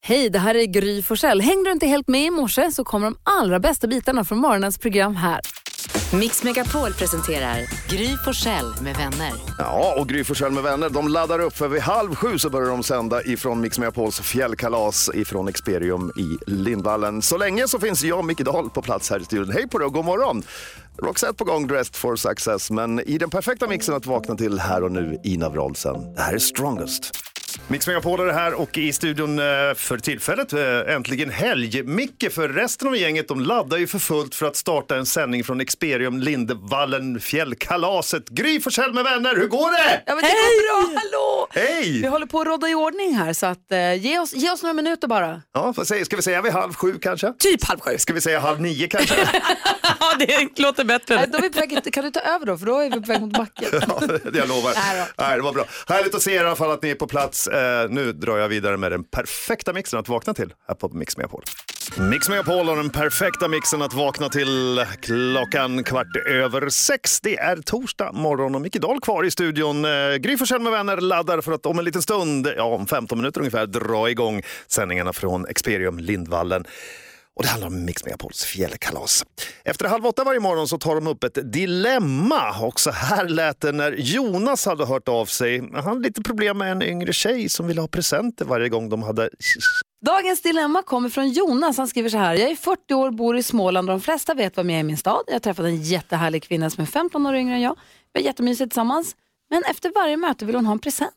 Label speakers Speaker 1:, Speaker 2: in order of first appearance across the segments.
Speaker 1: Hej, det här är Gry Forssell. Hängde du inte helt med i morse så kommer de allra bästa bitarna från morgonens program här.
Speaker 2: Mix Megapol presenterar Gry Forssell med vänner.
Speaker 3: Ja, och Gry Forssell med vänner, de laddar upp för vid halv sju så börjar de sända ifrån Mix Megapols fjällkalas ifrån Experium i Lindvallen. Så länge så finns jag, Micke Dahl, på plats här i studion. Hej på dig och god morgon! Roxette på gång, Dressed for Success, men i den perfekta mixen att vakna till här och nu, Ina Wroldsen. Det här är Strongest.
Speaker 4: Mix Megapol är det här och i studion eh, för tillfället eh, äntligen helg. Micke för resten av gänget de laddar ju för fullt för att starta en sändning från Experium Lindevallen fjällkalaset. Gry Forssell med vänner, hur går det?
Speaker 5: Ja, men det går bra, hallå! Vi
Speaker 4: Hej!
Speaker 5: håller på att rodda i ordning här så att, eh, ge, oss, ge oss några minuter bara.
Speaker 4: Ja, vad säger, ska vi säga vid halv sju kanske?
Speaker 6: Typ halv sju.
Speaker 4: Ska vi säga halv nio kanske?
Speaker 6: Ja, det låter
Speaker 5: Nej,
Speaker 6: bättre.
Speaker 5: Äh, då är vi på väg, kan du ta över då? För då är vi på väg mot backen.
Speaker 4: Ja, jag lovar.
Speaker 5: Nej
Speaker 4: Nej, det var bra. Härligt att se er i alla fall att ni är på plats. Eh, nu drar jag vidare med den perfekta mixen att vakna till här på Mix Megapol. Mix Megapol och den perfekta mixen att vakna till klockan kvart över sex. Det är torsdag morgon och Micke Dahl kvar i studion. Eh, Gry Forssell med vänner laddar för att om en liten stund, ja om 15 minuter ungefär, dra igång sändningarna från Experium Lindvallen. Och det handlar om Mix Megapols fjällkalas. Efter halv åtta varje morgon så tar de upp ett dilemma. Och så här lät det när Jonas hade hört av sig. Han hade lite problem med en yngre tjej som ville ha presenter varje gång de hade...
Speaker 5: Dagens dilemma kommer från Jonas. Han skriver så här. Jag är 40 år, bor i Småland och de flesta vet vem jag är i min stad. Jag har träffat en jättehärlig kvinna som är 15 år yngre än jag. Vi har jättemysigt tillsammans. Men efter varje möte vill hon ha en present.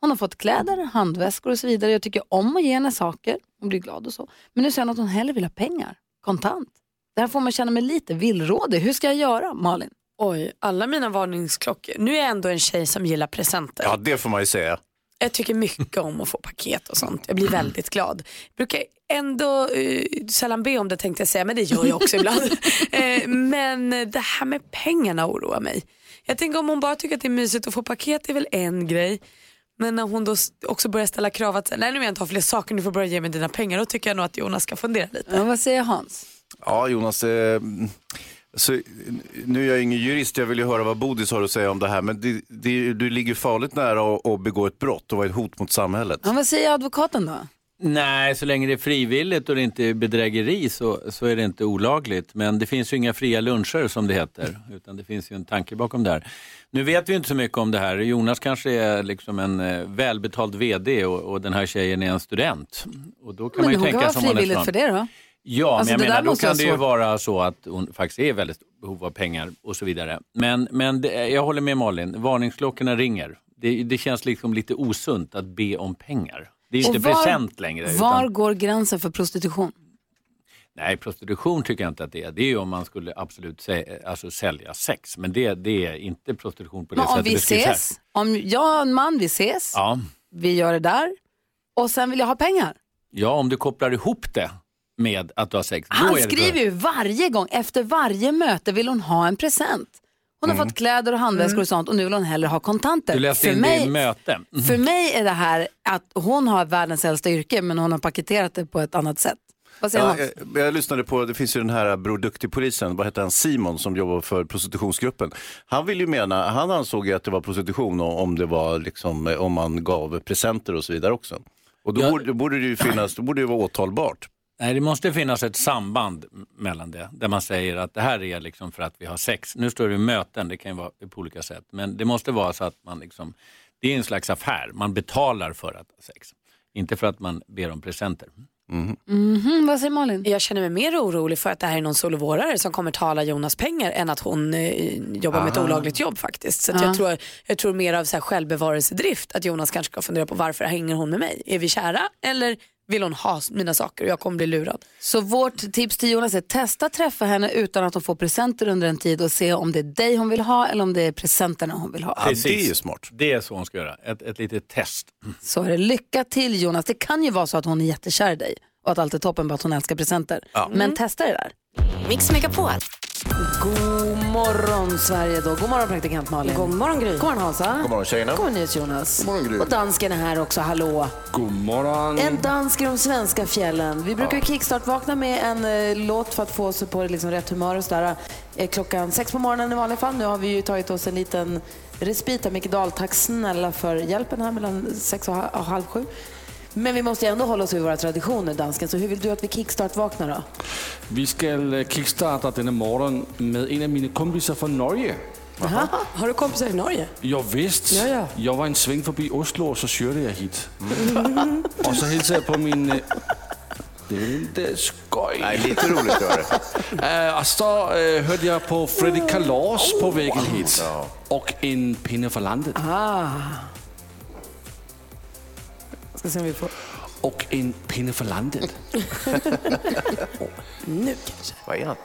Speaker 5: Hon har fått kläder, handväskor och så vidare. Jag tycker om att ge henne saker. Hon blir glad och så. Men nu säger hon att hon hellre vill ha pengar. Kontant. Det här får man känna mig lite villrådig. Hur ska jag göra, Malin?
Speaker 6: Oj, alla mina varningsklockor. Nu är jag ändå en tjej som gillar presenter.
Speaker 7: Ja, det får man ju säga.
Speaker 6: Jag tycker mycket om att få paket och sånt. Jag blir väldigt glad. Brukar ändå eh, sällan be om det tänkte jag säga, men det gör jag också ibland. Eh, men det här med pengarna oroar mig. Jag tänker om hon bara tycker att det är mysigt att få paket det är väl en grej. Men när hon då s- också börjar ställa krav att nej nu vill jag inte ha fler saker, du får börja ge mig dina pengar. Då tycker jag nog att Jonas ska fundera lite.
Speaker 5: Ja, vad säger Hans?
Speaker 7: Ja, Jonas. Eh, så, nu är jag ingen jurist, jag vill ju höra vad Bodis har att säga om det här. Men det, det, du ligger farligt nära att att begå ett brott och vara ett hot mot samhället.
Speaker 5: Ja, vad säger advokaten då?
Speaker 8: Nej, så länge det är frivilligt och det inte är bedrägeri så, så är det inte olagligt. Men det finns ju inga fria luncher som det heter, utan det finns ju en tanke bakom det här. Nu vet vi ju inte så mycket om det här. Jonas kanske är liksom en eh, välbetald VD och, och den här tjejen är en student. Och då kan man
Speaker 5: Men
Speaker 8: ju
Speaker 5: hon kan
Speaker 8: tänka
Speaker 5: vara
Speaker 8: som man är
Speaker 5: frivilligt
Speaker 8: från-
Speaker 5: för det då?
Speaker 8: Ja,
Speaker 5: Alltså, det
Speaker 8: men jag
Speaker 5: där
Speaker 8: menar, då
Speaker 5: måste
Speaker 8: kan
Speaker 5: jag
Speaker 8: det ju
Speaker 5: svårt-
Speaker 8: vara så att hon faktiskt är väldigt behov av pengar och så vidare. Men, men det, jag håller med Malin, varningsklockorna ringer. Det, det känns liksom lite osunt att be om pengar. Det är ju
Speaker 5: Och
Speaker 8: inte
Speaker 5: var-
Speaker 8: present längre.
Speaker 5: Var
Speaker 8: Utan,
Speaker 5: går gränsen för prostitution?
Speaker 8: nej, prostitution tycker jag inte att det är. Det är ju om man skulle absolut sä, alltså sälja sex. Men det, det är inte prostitution på det
Speaker 5: Men om
Speaker 8: sättet
Speaker 5: vi
Speaker 8: det beskrivs här.
Speaker 5: ses, om jag och en man, vi ses,
Speaker 8: Ja.
Speaker 5: vi gör det där och sen vill jag ha pengar.
Speaker 8: ja, om du kopplar ihop det med att du har sex. då
Speaker 5: Han
Speaker 8: är det-
Speaker 5: skriver ju varje gång, efter varje möte vill hon ha en present. Hon har fått kläder och handväskor och sånt och nu vill hon hellre ha kontanter.
Speaker 8: Mm. Du läste
Speaker 5: för,
Speaker 8: in det i
Speaker 5: mig,
Speaker 8: möte. Mm.
Speaker 5: för mig är det här att hon har världens äldsta yrke men hon har paketerat det på ett annat sätt. Vad säger
Speaker 7: Ja,
Speaker 8: eh,
Speaker 5: Hans?
Speaker 7: jag, jag lyssnade på, det finns ju den här eh, Bror Duktig-polisen, vad hette han, Simon som jobbar för prostitutionsgruppen. Han vill ju mena, han ansåg ju att det var prostitution och- om det var liksom, eh, om man gav presenter och så vidare också. Och då
Speaker 8: Ja.
Speaker 7: borde, borde det ju finnas, då borde det vara åtalbart.
Speaker 8: Nej, det måste finnas ett samband mellan det, där man säger att det här är liksom för att vi har sex. Nu står det möten, det kan ju vara på olika sätt, men det måste vara så att man liksom, det är en slags affär, man betalar för att ha sex. Inte för att man ber om presenter.
Speaker 7: Mm.
Speaker 5: Mhm, vad säger Malin?
Speaker 6: Jag känner mig mer orolig för att det här är någon solovårare som kommer tala Jonas pengar än att hon eh, jobbar med ett
Speaker 9: Ah.
Speaker 6: olagligt jobb faktiskt. Så att
Speaker 5: Ah.
Speaker 6: jag, tror, jag tror mer av så här självbevarelsedrift att Jonas kanske ska fundera på varför hänger hon med mig? Är vi kära eller vill hon ha mina saker och jag kommer bli lurad?
Speaker 5: Så vårt tips till Jonas är testa träffa henne utan att hon får presenter under en tid och se om det är dig hon vill ha eller om det är presenterna hon vill ha.
Speaker 7: Ja, det är ju smart.
Speaker 8: Det är så hon ska göra, ett, ett litet test.
Speaker 5: Så är det. Lycka till Jonas. Det kan ju vara så att hon är jättekär i dig och att allt är toppen bara att hon älskar presenter. Men testa det där.
Speaker 2: Mix Megapol.
Speaker 5: God morgon Sverige då. God morgon praktikant Malin. God morgon Gry. God morgon Hansa. God
Speaker 7: morgon, tjejerna.
Speaker 5: God morgon Nils Jonas.
Speaker 3: morgon, Gry.
Speaker 5: Och dansken är här också. Hallå.
Speaker 10: God morgon.
Speaker 5: En dansk i de svenska fjällen. Vi brukar kickstart-vakna med en eh, låt för att få oss på liksom, rätt humör och sådär. Eh, klockan sex på morgonen i vanliga fall. Nu har vi ju tagit oss en liten respit av Micke Dahl. Tack snälla för hjälpen här mellan sex och, ha- och halv sju.
Speaker 11: Men vi måste ju ändå hålla oss vid våra traditioner, dansken. Så hur vill du att vi kickstart-vaknar då?
Speaker 12: Vi skal øh, kickstarte denne morgen med en af mine kompiser fra Norge.
Speaker 6: Har du kompisar i Norge?
Speaker 12: Jo vist.
Speaker 6: Ja, Mm. ja.
Speaker 12: Jeg var en sving forbi Oslo, og så kørte jeg hit. og så hilser jeg på min... øh, Linda Skøj.
Speaker 9: Nej, lite roligt var det.
Speaker 12: Øh, og så øh, hørte jeg på Freddy Kalors på væggen hit. Og en pinde fra landet.
Speaker 6: Ah. Ska se om vi får.
Speaker 12: Och en pinne för landet.
Speaker 6: Nu kanske.
Speaker 9: Vad är han?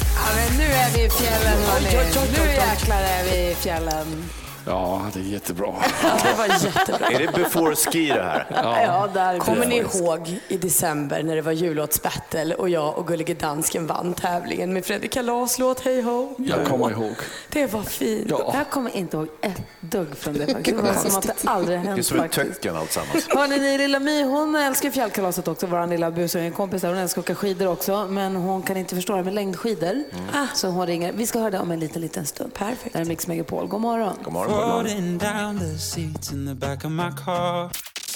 Speaker 5: Ja, men nu är vi i fjällen, hörni. Nu jäklar är vi i fjällen.
Speaker 12: Ja, det är jättebra.
Speaker 6: Det var jättebra.
Speaker 9: Är det before ski det här?
Speaker 5: Ja, där är
Speaker 6: Kommer
Speaker 5: vi.
Speaker 6: ni ihåg i december när det var jullåtsbattle och jag och Gullige Dansken vann tävlingen med Fredrik Kalas låt Hej ho?
Speaker 12: Jag kommer ihåg.
Speaker 6: Det var fint.
Speaker 12: Ja.
Speaker 5: Jag kommer inte ihåg ett dugg från det faktiskt. Det var som att det aldrig
Speaker 9: Det är
Speaker 5: hänt
Speaker 9: som ett
Speaker 5: faktiskt.
Speaker 9: töcken alltsammans.
Speaker 5: Hörni, ni, lilla My, hon älskar fjällkalaset också, vår lilla busungen kompis där. Hon älskar att åka skidor också, men hon kan inte förstå det här med längdskidor.
Speaker 6: Mm.
Speaker 5: Ah. Så hon ringer. Vi ska höra det om en liten, liten stund. Perfekt. Där är Mix Megapol. God morgon.
Speaker 9: God morgon, god morgon.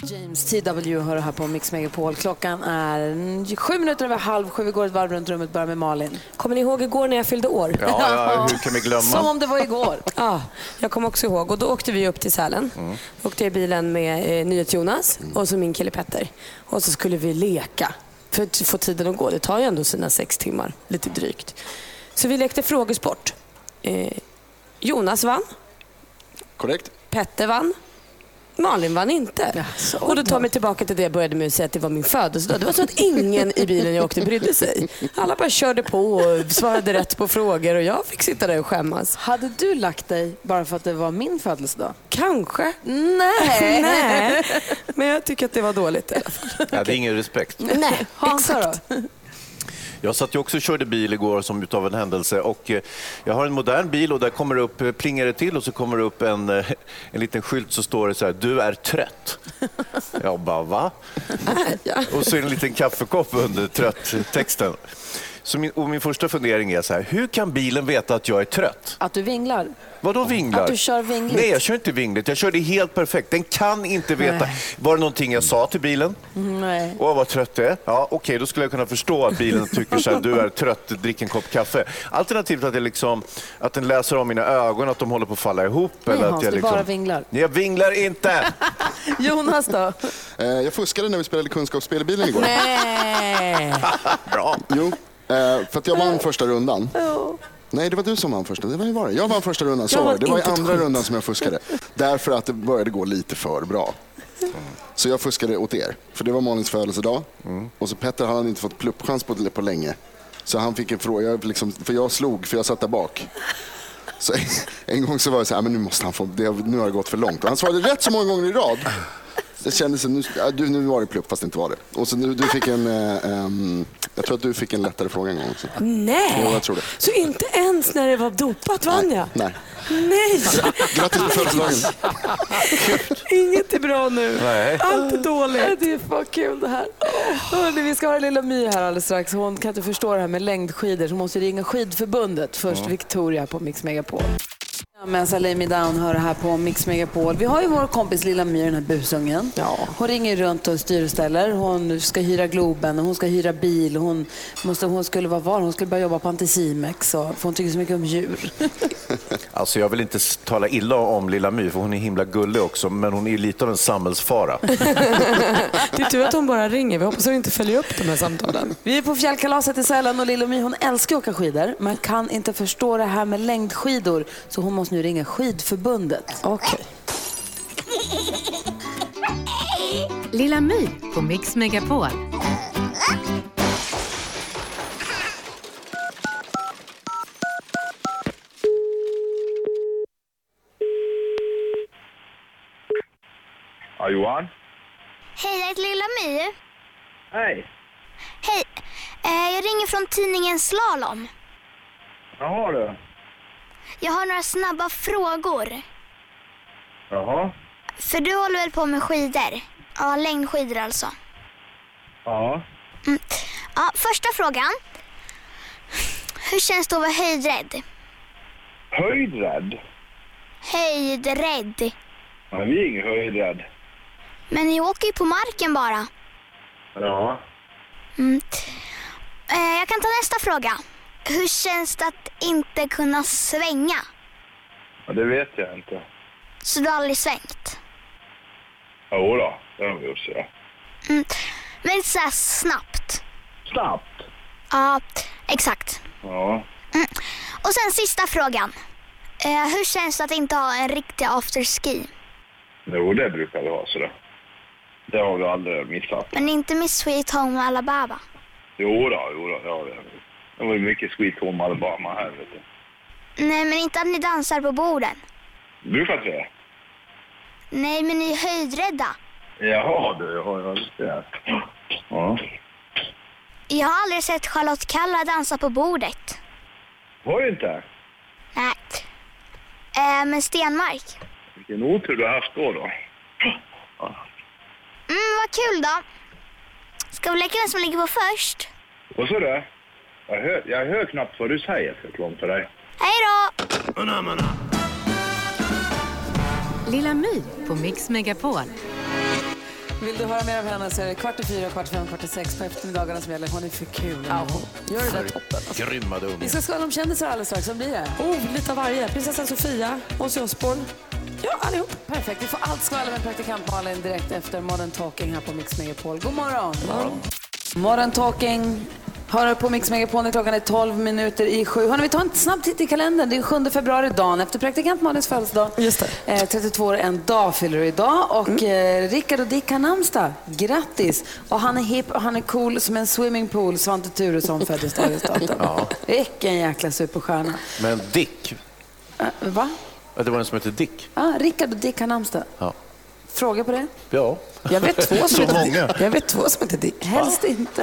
Speaker 5: James T.W. hör här på Mix Megapol. Klockan är sju minuter över halv sju. Vi går ett varv runt rummet börjar med Malin.
Speaker 6: Kommer ni ihåg igår när jag fyllde år?
Speaker 9: Ja, ja, hur kan vi
Speaker 5: Som
Speaker 9: glömma?
Speaker 5: om det var igår.
Speaker 6: Ja, jag kommer också ihåg. Och då åkte vi upp till Sälen.
Speaker 9: Mm.
Speaker 6: Då åkte jag i bilen med eh, NyhetsJonas och så min kille Petter. Och så skulle vi leka för att få tiden att gå. Det tar ju ändå sina sex timmar, lite drygt. Så vi lekte frågesport. Eh, Jonas vann,
Speaker 13: Korrekt.
Speaker 6: Petter vann. Malin vann inte. Och då tar mig tillbaka till det jag började med att säga att det var min födelsedag. Det var så att ingen i bilen jag åkte brydde sig. Alla bara körde på och svarade rätt på frågor och jag fick sitta där och skämmas.
Speaker 5: Hade du lagt dig bara för att det var min födelsedag?
Speaker 6: Kanske.
Speaker 5: Nej.
Speaker 6: Nej, men jag tycker att det var dåligt.
Speaker 9: Ja, det är ingen respekt.
Speaker 5: Nej. Hansa då?
Speaker 7: Jag satt ju också och körde bil igår som utav en händelse och eh, jag har en modern bil och där kommer det upp, eh, plingar det till och så kommer det upp en, eh, en liten skylt så står det så här, du är trött. Jag bara, va? Och så är det en liten kaffekopp under trött-texten. Så min, och min första fundering är så här, hur kan bilen veta att jag är trött?
Speaker 5: Att du vinglar?
Speaker 7: Vadå vinglar?
Speaker 5: Att du kör vingligt.
Speaker 7: Nej, jag kör inte vingligt. Jag körde helt perfekt. Den kan inte veta. Var det någonting jag sa till bilen?
Speaker 5: Mm, Nej.
Speaker 7: Åh, vad trött det är. Ja, okej, då skulle jag kunna förstå att bilen tycker så här, du är trött, drick en kopp kaffe. Alternativt att, jag liksom, att den läser av mina ögon att de håller på att falla ihop.
Speaker 5: Nej
Speaker 7: eller
Speaker 5: Hans,
Speaker 7: att jag
Speaker 5: du
Speaker 7: liksom...
Speaker 5: bara vinglar.
Speaker 7: Nej, jag vinglar inte!
Speaker 5: Jonas då?
Speaker 14: Eh, jag fuskade när vi spelade kunskapsspel i bilen igår.
Speaker 5: Nej.
Speaker 7: Bra.
Speaker 14: Jo, eh, för att jag vann första rundan. Nej, det var du som vann första. Det var ju var det. Jag vann första rundan, så
Speaker 6: Jag
Speaker 14: var
Speaker 6: vann
Speaker 14: det. Det var i
Speaker 6: inte ett
Speaker 14: andra
Speaker 6: skit.
Speaker 14: rundan som jag fuskade. Därför att det började gå lite för bra.
Speaker 7: Mm.
Speaker 14: Så jag fuskade åt er, för det var Malins födelsedag. Och så Petter han hade inte fått pluppchans på, på länge. Så han fick en fråga, jag liksom, för jag slog, för jag satt där bak. Så en gång så var det så här, "Ah, men nu måste han få, det, har- nu har det gått för långt. Och han svarade rätt så många gånger i rad. Det kändes som, nu, ja, du, nu var det plupp fast det inte var det. Och så nu, du fick en, eh, ehm, jag tror att du fick en lättare fråga en gång också. Jo,
Speaker 6: Nej,
Speaker 14: jag tror det.
Speaker 6: så inte ens när det var dopat vann jag?
Speaker 14: Nej.
Speaker 6: Nej,
Speaker 14: Grattis på födelsedagen.
Speaker 6: inget är bra nu.
Speaker 7: Nej.
Speaker 6: Allt är
Speaker 5: Ja,
Speaker 6: dåligt.
Speaker 5: Det är fan kul det här. Hörrni, vi ska ha lilla My här alldeles strax. Hon kan inte förstå det här med längdskidor så måste vi ringa Skidförbundet. Först Victoria på Mix Megapol. Ja, Men så lay me down hör det här på Mix Megapol. Vi har ju vår kompis lilla My, den här busungen. Ja. Hon ringer runt och styr och ställer. Hon ska hyra Globen och hon ska hyra bil. och Hon, måste, hon skulle vara var? Hon skulle börja jobba på Anticimex och, för hon tycker så mycket om djur.
Speaker 7: Alltså, jag vill inte s- tala illa om Lilla My, för hon är himla gullig också, men hon är ju lite av en samhällsfara.
Speaker 6: Det är tur att hon bara ringer. Vi hoppas att hon inte följer upp de här samtalen.
Speaker 5: Vi är på fjällkalaset i Sälen och Lilla My hon älskar att åka skidor men kan inte förstå det här med längdskidor så hon måste nu ringa Skidförbundet.
Speaker 6: Okej.
Speaker 15: Lilla My på Mix Megapol. Ja, Johan?
Speaker 16: Hej, jag heter Lilla My.
Speaker 15: Hej.
Speaker 16: Hej, eh, jag ringer från tidningen Slalom.
Speaker 15: Jaha du.
Speaker 16: Jag har några snabba frågor.
Speaker 15: Jaha.
Speaker 16: För du håller väl på med skidor? Ja, längdskidor alltså.
Speaker 15: Ja.
Speaker 16: Ja, första frågan. Hur känns det att vara höjdrädd?
Speaker 15: Höjdrädd?
Speaker 16: Höjdrädd.
Speaker 15: Nej, vi är ingen höjdrädd.
Speaker 16: Men ni åker ju på marken bara.
Speaker 15: Ja.
Speaker 16: Mm. Eh, jag kan ta nästa fråga. Hur känns det att inte kunna svänga?
Speaker 15: ja det vet jag inte.
Speaker 16: Så du har aldrig svängt?
Speaker 15: Jo då, det har vi gjort så.
Speaker 16: Mm. Men inte så här snabbt.
Speaker 15: Snabbt?
Speaker 16: Ja, exakt.
Speaker 15: Ja.
Speaker 16: Mm. Och sen sista frågan. Eh, hur känns det att inte ha en riktig afterski?
Speaker 15: Jo, det brukar vi ha sådär. Det har vi aldrig missat.
Speaker 16: Men inte med Sweet Home Alabama?
Speaker 15: Jo då, jo då, det har vi. Det var ju mycket Sweet Home Alabama här vet du.
Speaker 16: Nej, men inte att ni dansar på borden.
Speaker 15: Brukar inte det?
Speaker 16: Nej, men ni är höjdrädda.
Speaker 15: Jaha du, ja, ja, just det. Ja.
Speaker 16: Jag har aldrig sett Charlotte Kalla dansa på bordet.
Speaker 15: Har du inte?
Speaker 16: Nej. Eh, men Stenmark.
Speaker 15: Vilken otur du har haft då då.
Speaker 16: Mm, vad kul då. Ska vi leka vem som ligger på först?
Speaker 15: Vad sa du? Jag hör, jag hör knappt vad du säger, förklarar för dig.
Speaker 16: Hej då!
Speaker 2: Lilla My på Mix Megapol.
Speaker 5: Vill du höra mer av henne så är det kvart i fyra, kvart i fem, kvart i sex på eftermiddagarna som gäller. Hon är för kul. Ja, hon gör det där toppen.
Speaker 17: Grymma du
Speaker 5: Vi ska skala om kändisar alldeles strax. Vad blir det?
Speaker 6: Oh, lite av varje. Prinsessan Sofia, Ozzy Osbourne.
Speaker 5: Ja, allihop. Perfekt. Vi får allt skvaller med praktikant Malin direkt efter Modern Talking här på Mix Megapol. God morgon. Mm. Modern Talking hör på Mix Megapol. Klockan är 12 minuter i sju. Hörrni, vi tar en snabb titt i kalendern. Det är 7 februari, dagen efter praktikant Malins födelsedag. Just Eh, 32 år en dag fyller du idag. Och eh, Rickard och Dick har namnsdag. Grattis. Och han är hipp och han är cool som en swimmingpool. Svante Turesson föddes dagens datum.
Speaker 17: Ja.
Speaker 5: Vilken jäkla superstjärna.
Speaker 17: Men Dick,
Speaker 5: Eh, va?
Speaker 17: ja, det var en som hette Dick.
Speaker 5: Ah, Rickard och Dick har namnsdag.
Speaker 17: Ja.
Speaker 5: Fråga på det?
Speaker 17: ja.
Speaker 5: Jag vet två som
Speaker 17: Så
Speaker 5: heter Dick.
Speaker 17: många.
Speaker 5: Jag vet två som heter Dick. Helst inte.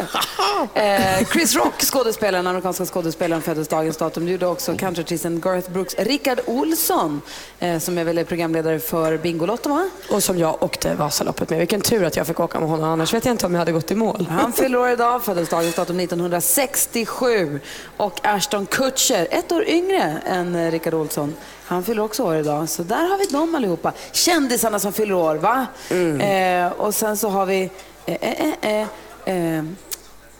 Speaker 5: Eh, Chris Rock, skådespelaren, amerikanska skådespelaren, föddes dagens datum. Det gjorde också countryartisten Garth Brooks. Rickard Olsson, eh, som är väl är programledare för Bingolotto, va?
Speaker 6: Och som jag åkte Vasaloppet med. Vilken tur att jag fick åka med honom, annars vet jag inte om jag hade gått i mål.
Speaker 5: Han fyller år idag, föddes dagens datum 1967. Och Ashton Kutcher, ett år yngre än eh, Rickard Olsson, han fyller också år idag. Så där har vi dem allihopa. Kändisarna som fyller år, va? Eh, och sen så har vi eh, eh, eh, eh, eh,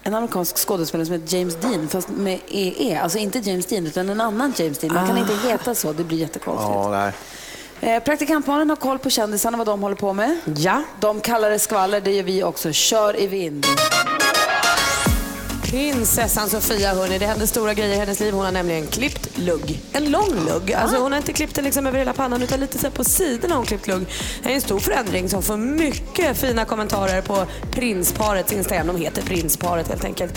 Speaker 5: en amerikansk skådespelare som heter James Dean, fast med EE. Alltså inte James Dean, utan en annan James Dean. Man kan
Speaker 6: Ah.
Speaker 5: inte heta så, det blir jättekonstigt.
Speaker 17: Ja, nej.
Speaker 5: Eh, Praktikantbarnen har koll på kändisarna, vad de håller på med. Ja. De kallar det skvaller, det gör vi också. Kör i vind.
Speaker 6: Prinsessan Sofia, hörni. Det händer stora grejer i hennes liv. Hon har nämligen klippt lugg. En lång lugg. Alltså, hon har inte klippt den liksom över hela pannan utan lite så här på sidorna har hon klippt lugg. Det är en stor förändring som får mycket fina kommentarer på prinsparets Instagram. De heter prinsparet helt enkelt.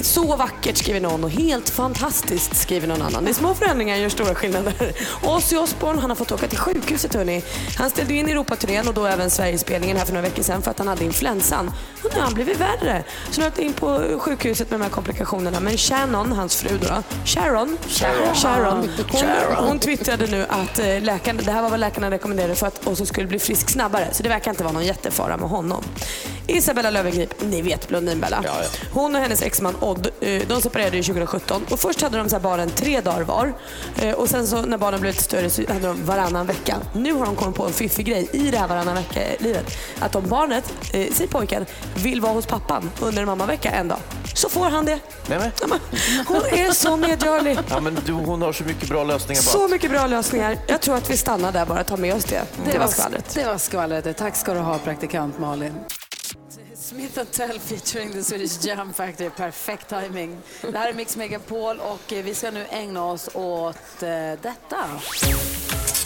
Speaker 6: Så vackert skriver någon och helt fantastiskt skriver någon annan. Det är små förändringar gör stora skillnader. Ozzy Osbourne, han har fått åka till sjukhuset hörni. Han ställde ju in Europaturnén och då även Sverigespelningen här för några veckor sedan för att han hade influensan. Och nu har han blivit värre. Så nu har han varit in på sjukhuset med de här komplikationerna. Men Shannon, hans fru då, Sharon,
Speaker 5: Sharon.
Speaker 6: Sharon hon,
Speaker 5: Sharon.
Speaker 6: hon twittrade nu att eh, läkaren, det här var vad läkarna rekommenderade för att Ozzy skulle bli frisk snabbare. Så det verkar inte vara någon jättefara med honom. Isabella Löwengrip, ni vet Blondinbella. Hon och hennes exman Odd, eh, de separerade ju 2017 och först hade de så här barnen tre dagar var. Eh, Och sen så när barnen blev lite större så hade de varannan vecka. Nu har de kommit på en fiffig grej i det här varannan vecka-livet. Att om barnet, eh, säg pojken, vill vara hos pappan under en mammavecka en dag, så får han det.
Speaker 17: Nej, men.
Speaker 6: Hon är så medgörlig.
Speaker 17: Ja, men du, hon har så mycket bra lösningar bara.
Speaker 6: Så mycket bra lösningar. Jag tror att vi stannar där bara och tar med oss det. Det var skvallret.
Speaker 5: Det var skvallret. Tack ska du ha, praktikant Malin. Smith Tell featuring the Swedish Jam Factory. Perfekt timing. Det här är Mix Megapol och eh, vi ska nu ägna oss åt eh, detta.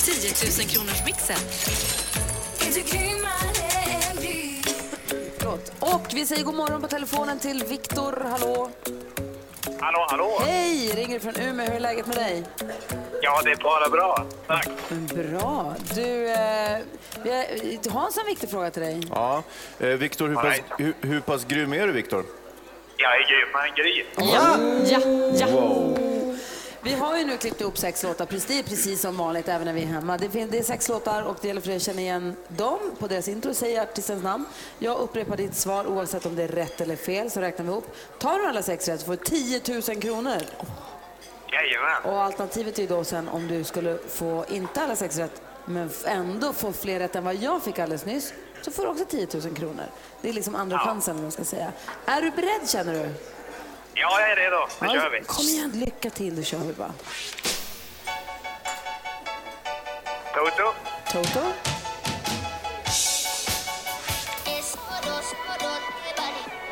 Speaker 2: 10 000 kronors mixen.
Speaker 5: Förlåt. Och vi säger god morgon på telefonen till Viktor. Hallå?
Speaker 15: Hallå, hallå!
Speaker 5: Hej! Ringer från Umeå. Hur är läget med dig?
Speaker 15: Ja, det är bara bra. Tack!
Speaker 5: Bra. Du, eh, vi har- du har en sån viktig fråga till dig.
Speaker 17: Ja. Eh, Viktor, hur, pass- hur, hur pass grym är du, Viktor?
Speaker 15: Jag är grymmare än Gry.
Speaker 5: Ja, ja, ja. Vi har ju nu klippt ihop sex låtar, precis, det är precis som vanligt även när vi är hemma. Det, fin- det är sex låtar och det gäller för er att känna igen dem på deras intro, säger artistens namn. Jag upprepar ditt svar oavsett om det är rätt eller fel så räknar vi ihop. Tar du alla sex rätt så får du 10 000 kronor.
Speaker 15: Jajamän.
Speaker 5: Och alternativet är ju då sen om du skulle få inte alla sex rätt men f- ändå få fler rätt än vad jag fick alldeles nyss så får du också 10 000 kronor. Det är liksom andra chansen om man ska säga. Är du beredd känner du?
Speaker 15: Ja, jag är redo. Nu
Speaker 5: Ja,
Speaker 15: kör vi.
Speaker 5: Kom igen, lycka till, då kör vi bara.
Speaker 15: Toto.
Speaker 5: Toto?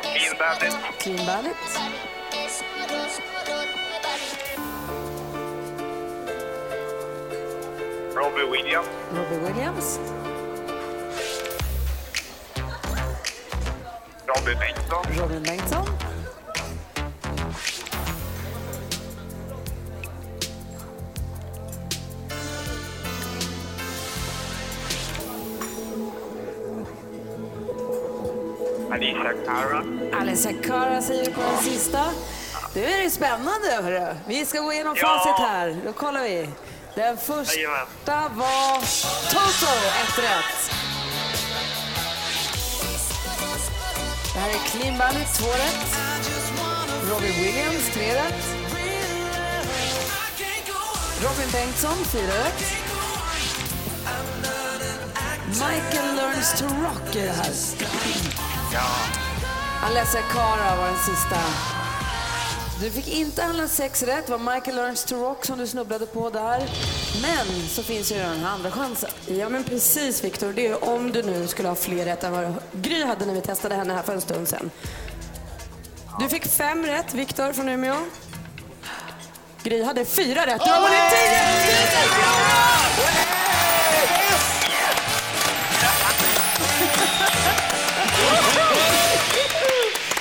Speaker 15: Clean Bandit.
Speaker 5: Clean Bandit.
Speaker 15: Robbie Williams.
Speaker 5: Robbie Williams.
Speaker 15: Robbie Bengtsson.
Speaker 5: Robin Bengtsson.
Speaker 15: Alicia Cara.
Speaker 5: Alice Cara säger vi på den sista. Nu är det spännande, hörru. Vi ska gå igenom
Speaker 15: Ja.
Speaker 5: facit här. Då kollar vi. Den första var Toto, ett rätt. Det här är Clean Bandit, två rätt. Robin Williams, tre rätt. Robin Bengtsson, fyra rätt. Michael Learns to Rock är det här. Alessia Cara var den sista. Du fick inte alla sex rätt. Det var Michael Learns to Rock som du snubblade på där. Men så finns ju den här andra chansen.
Speaker 6: Ja men precis Viktor, det är ju om du nu skulle ha fler rätt än vad Gry hade när vi testade henne här för en stund sedan. Du fick fem rätt Viktor från Umeå. Gry hade fyra rätt. Du har vunnit 10 000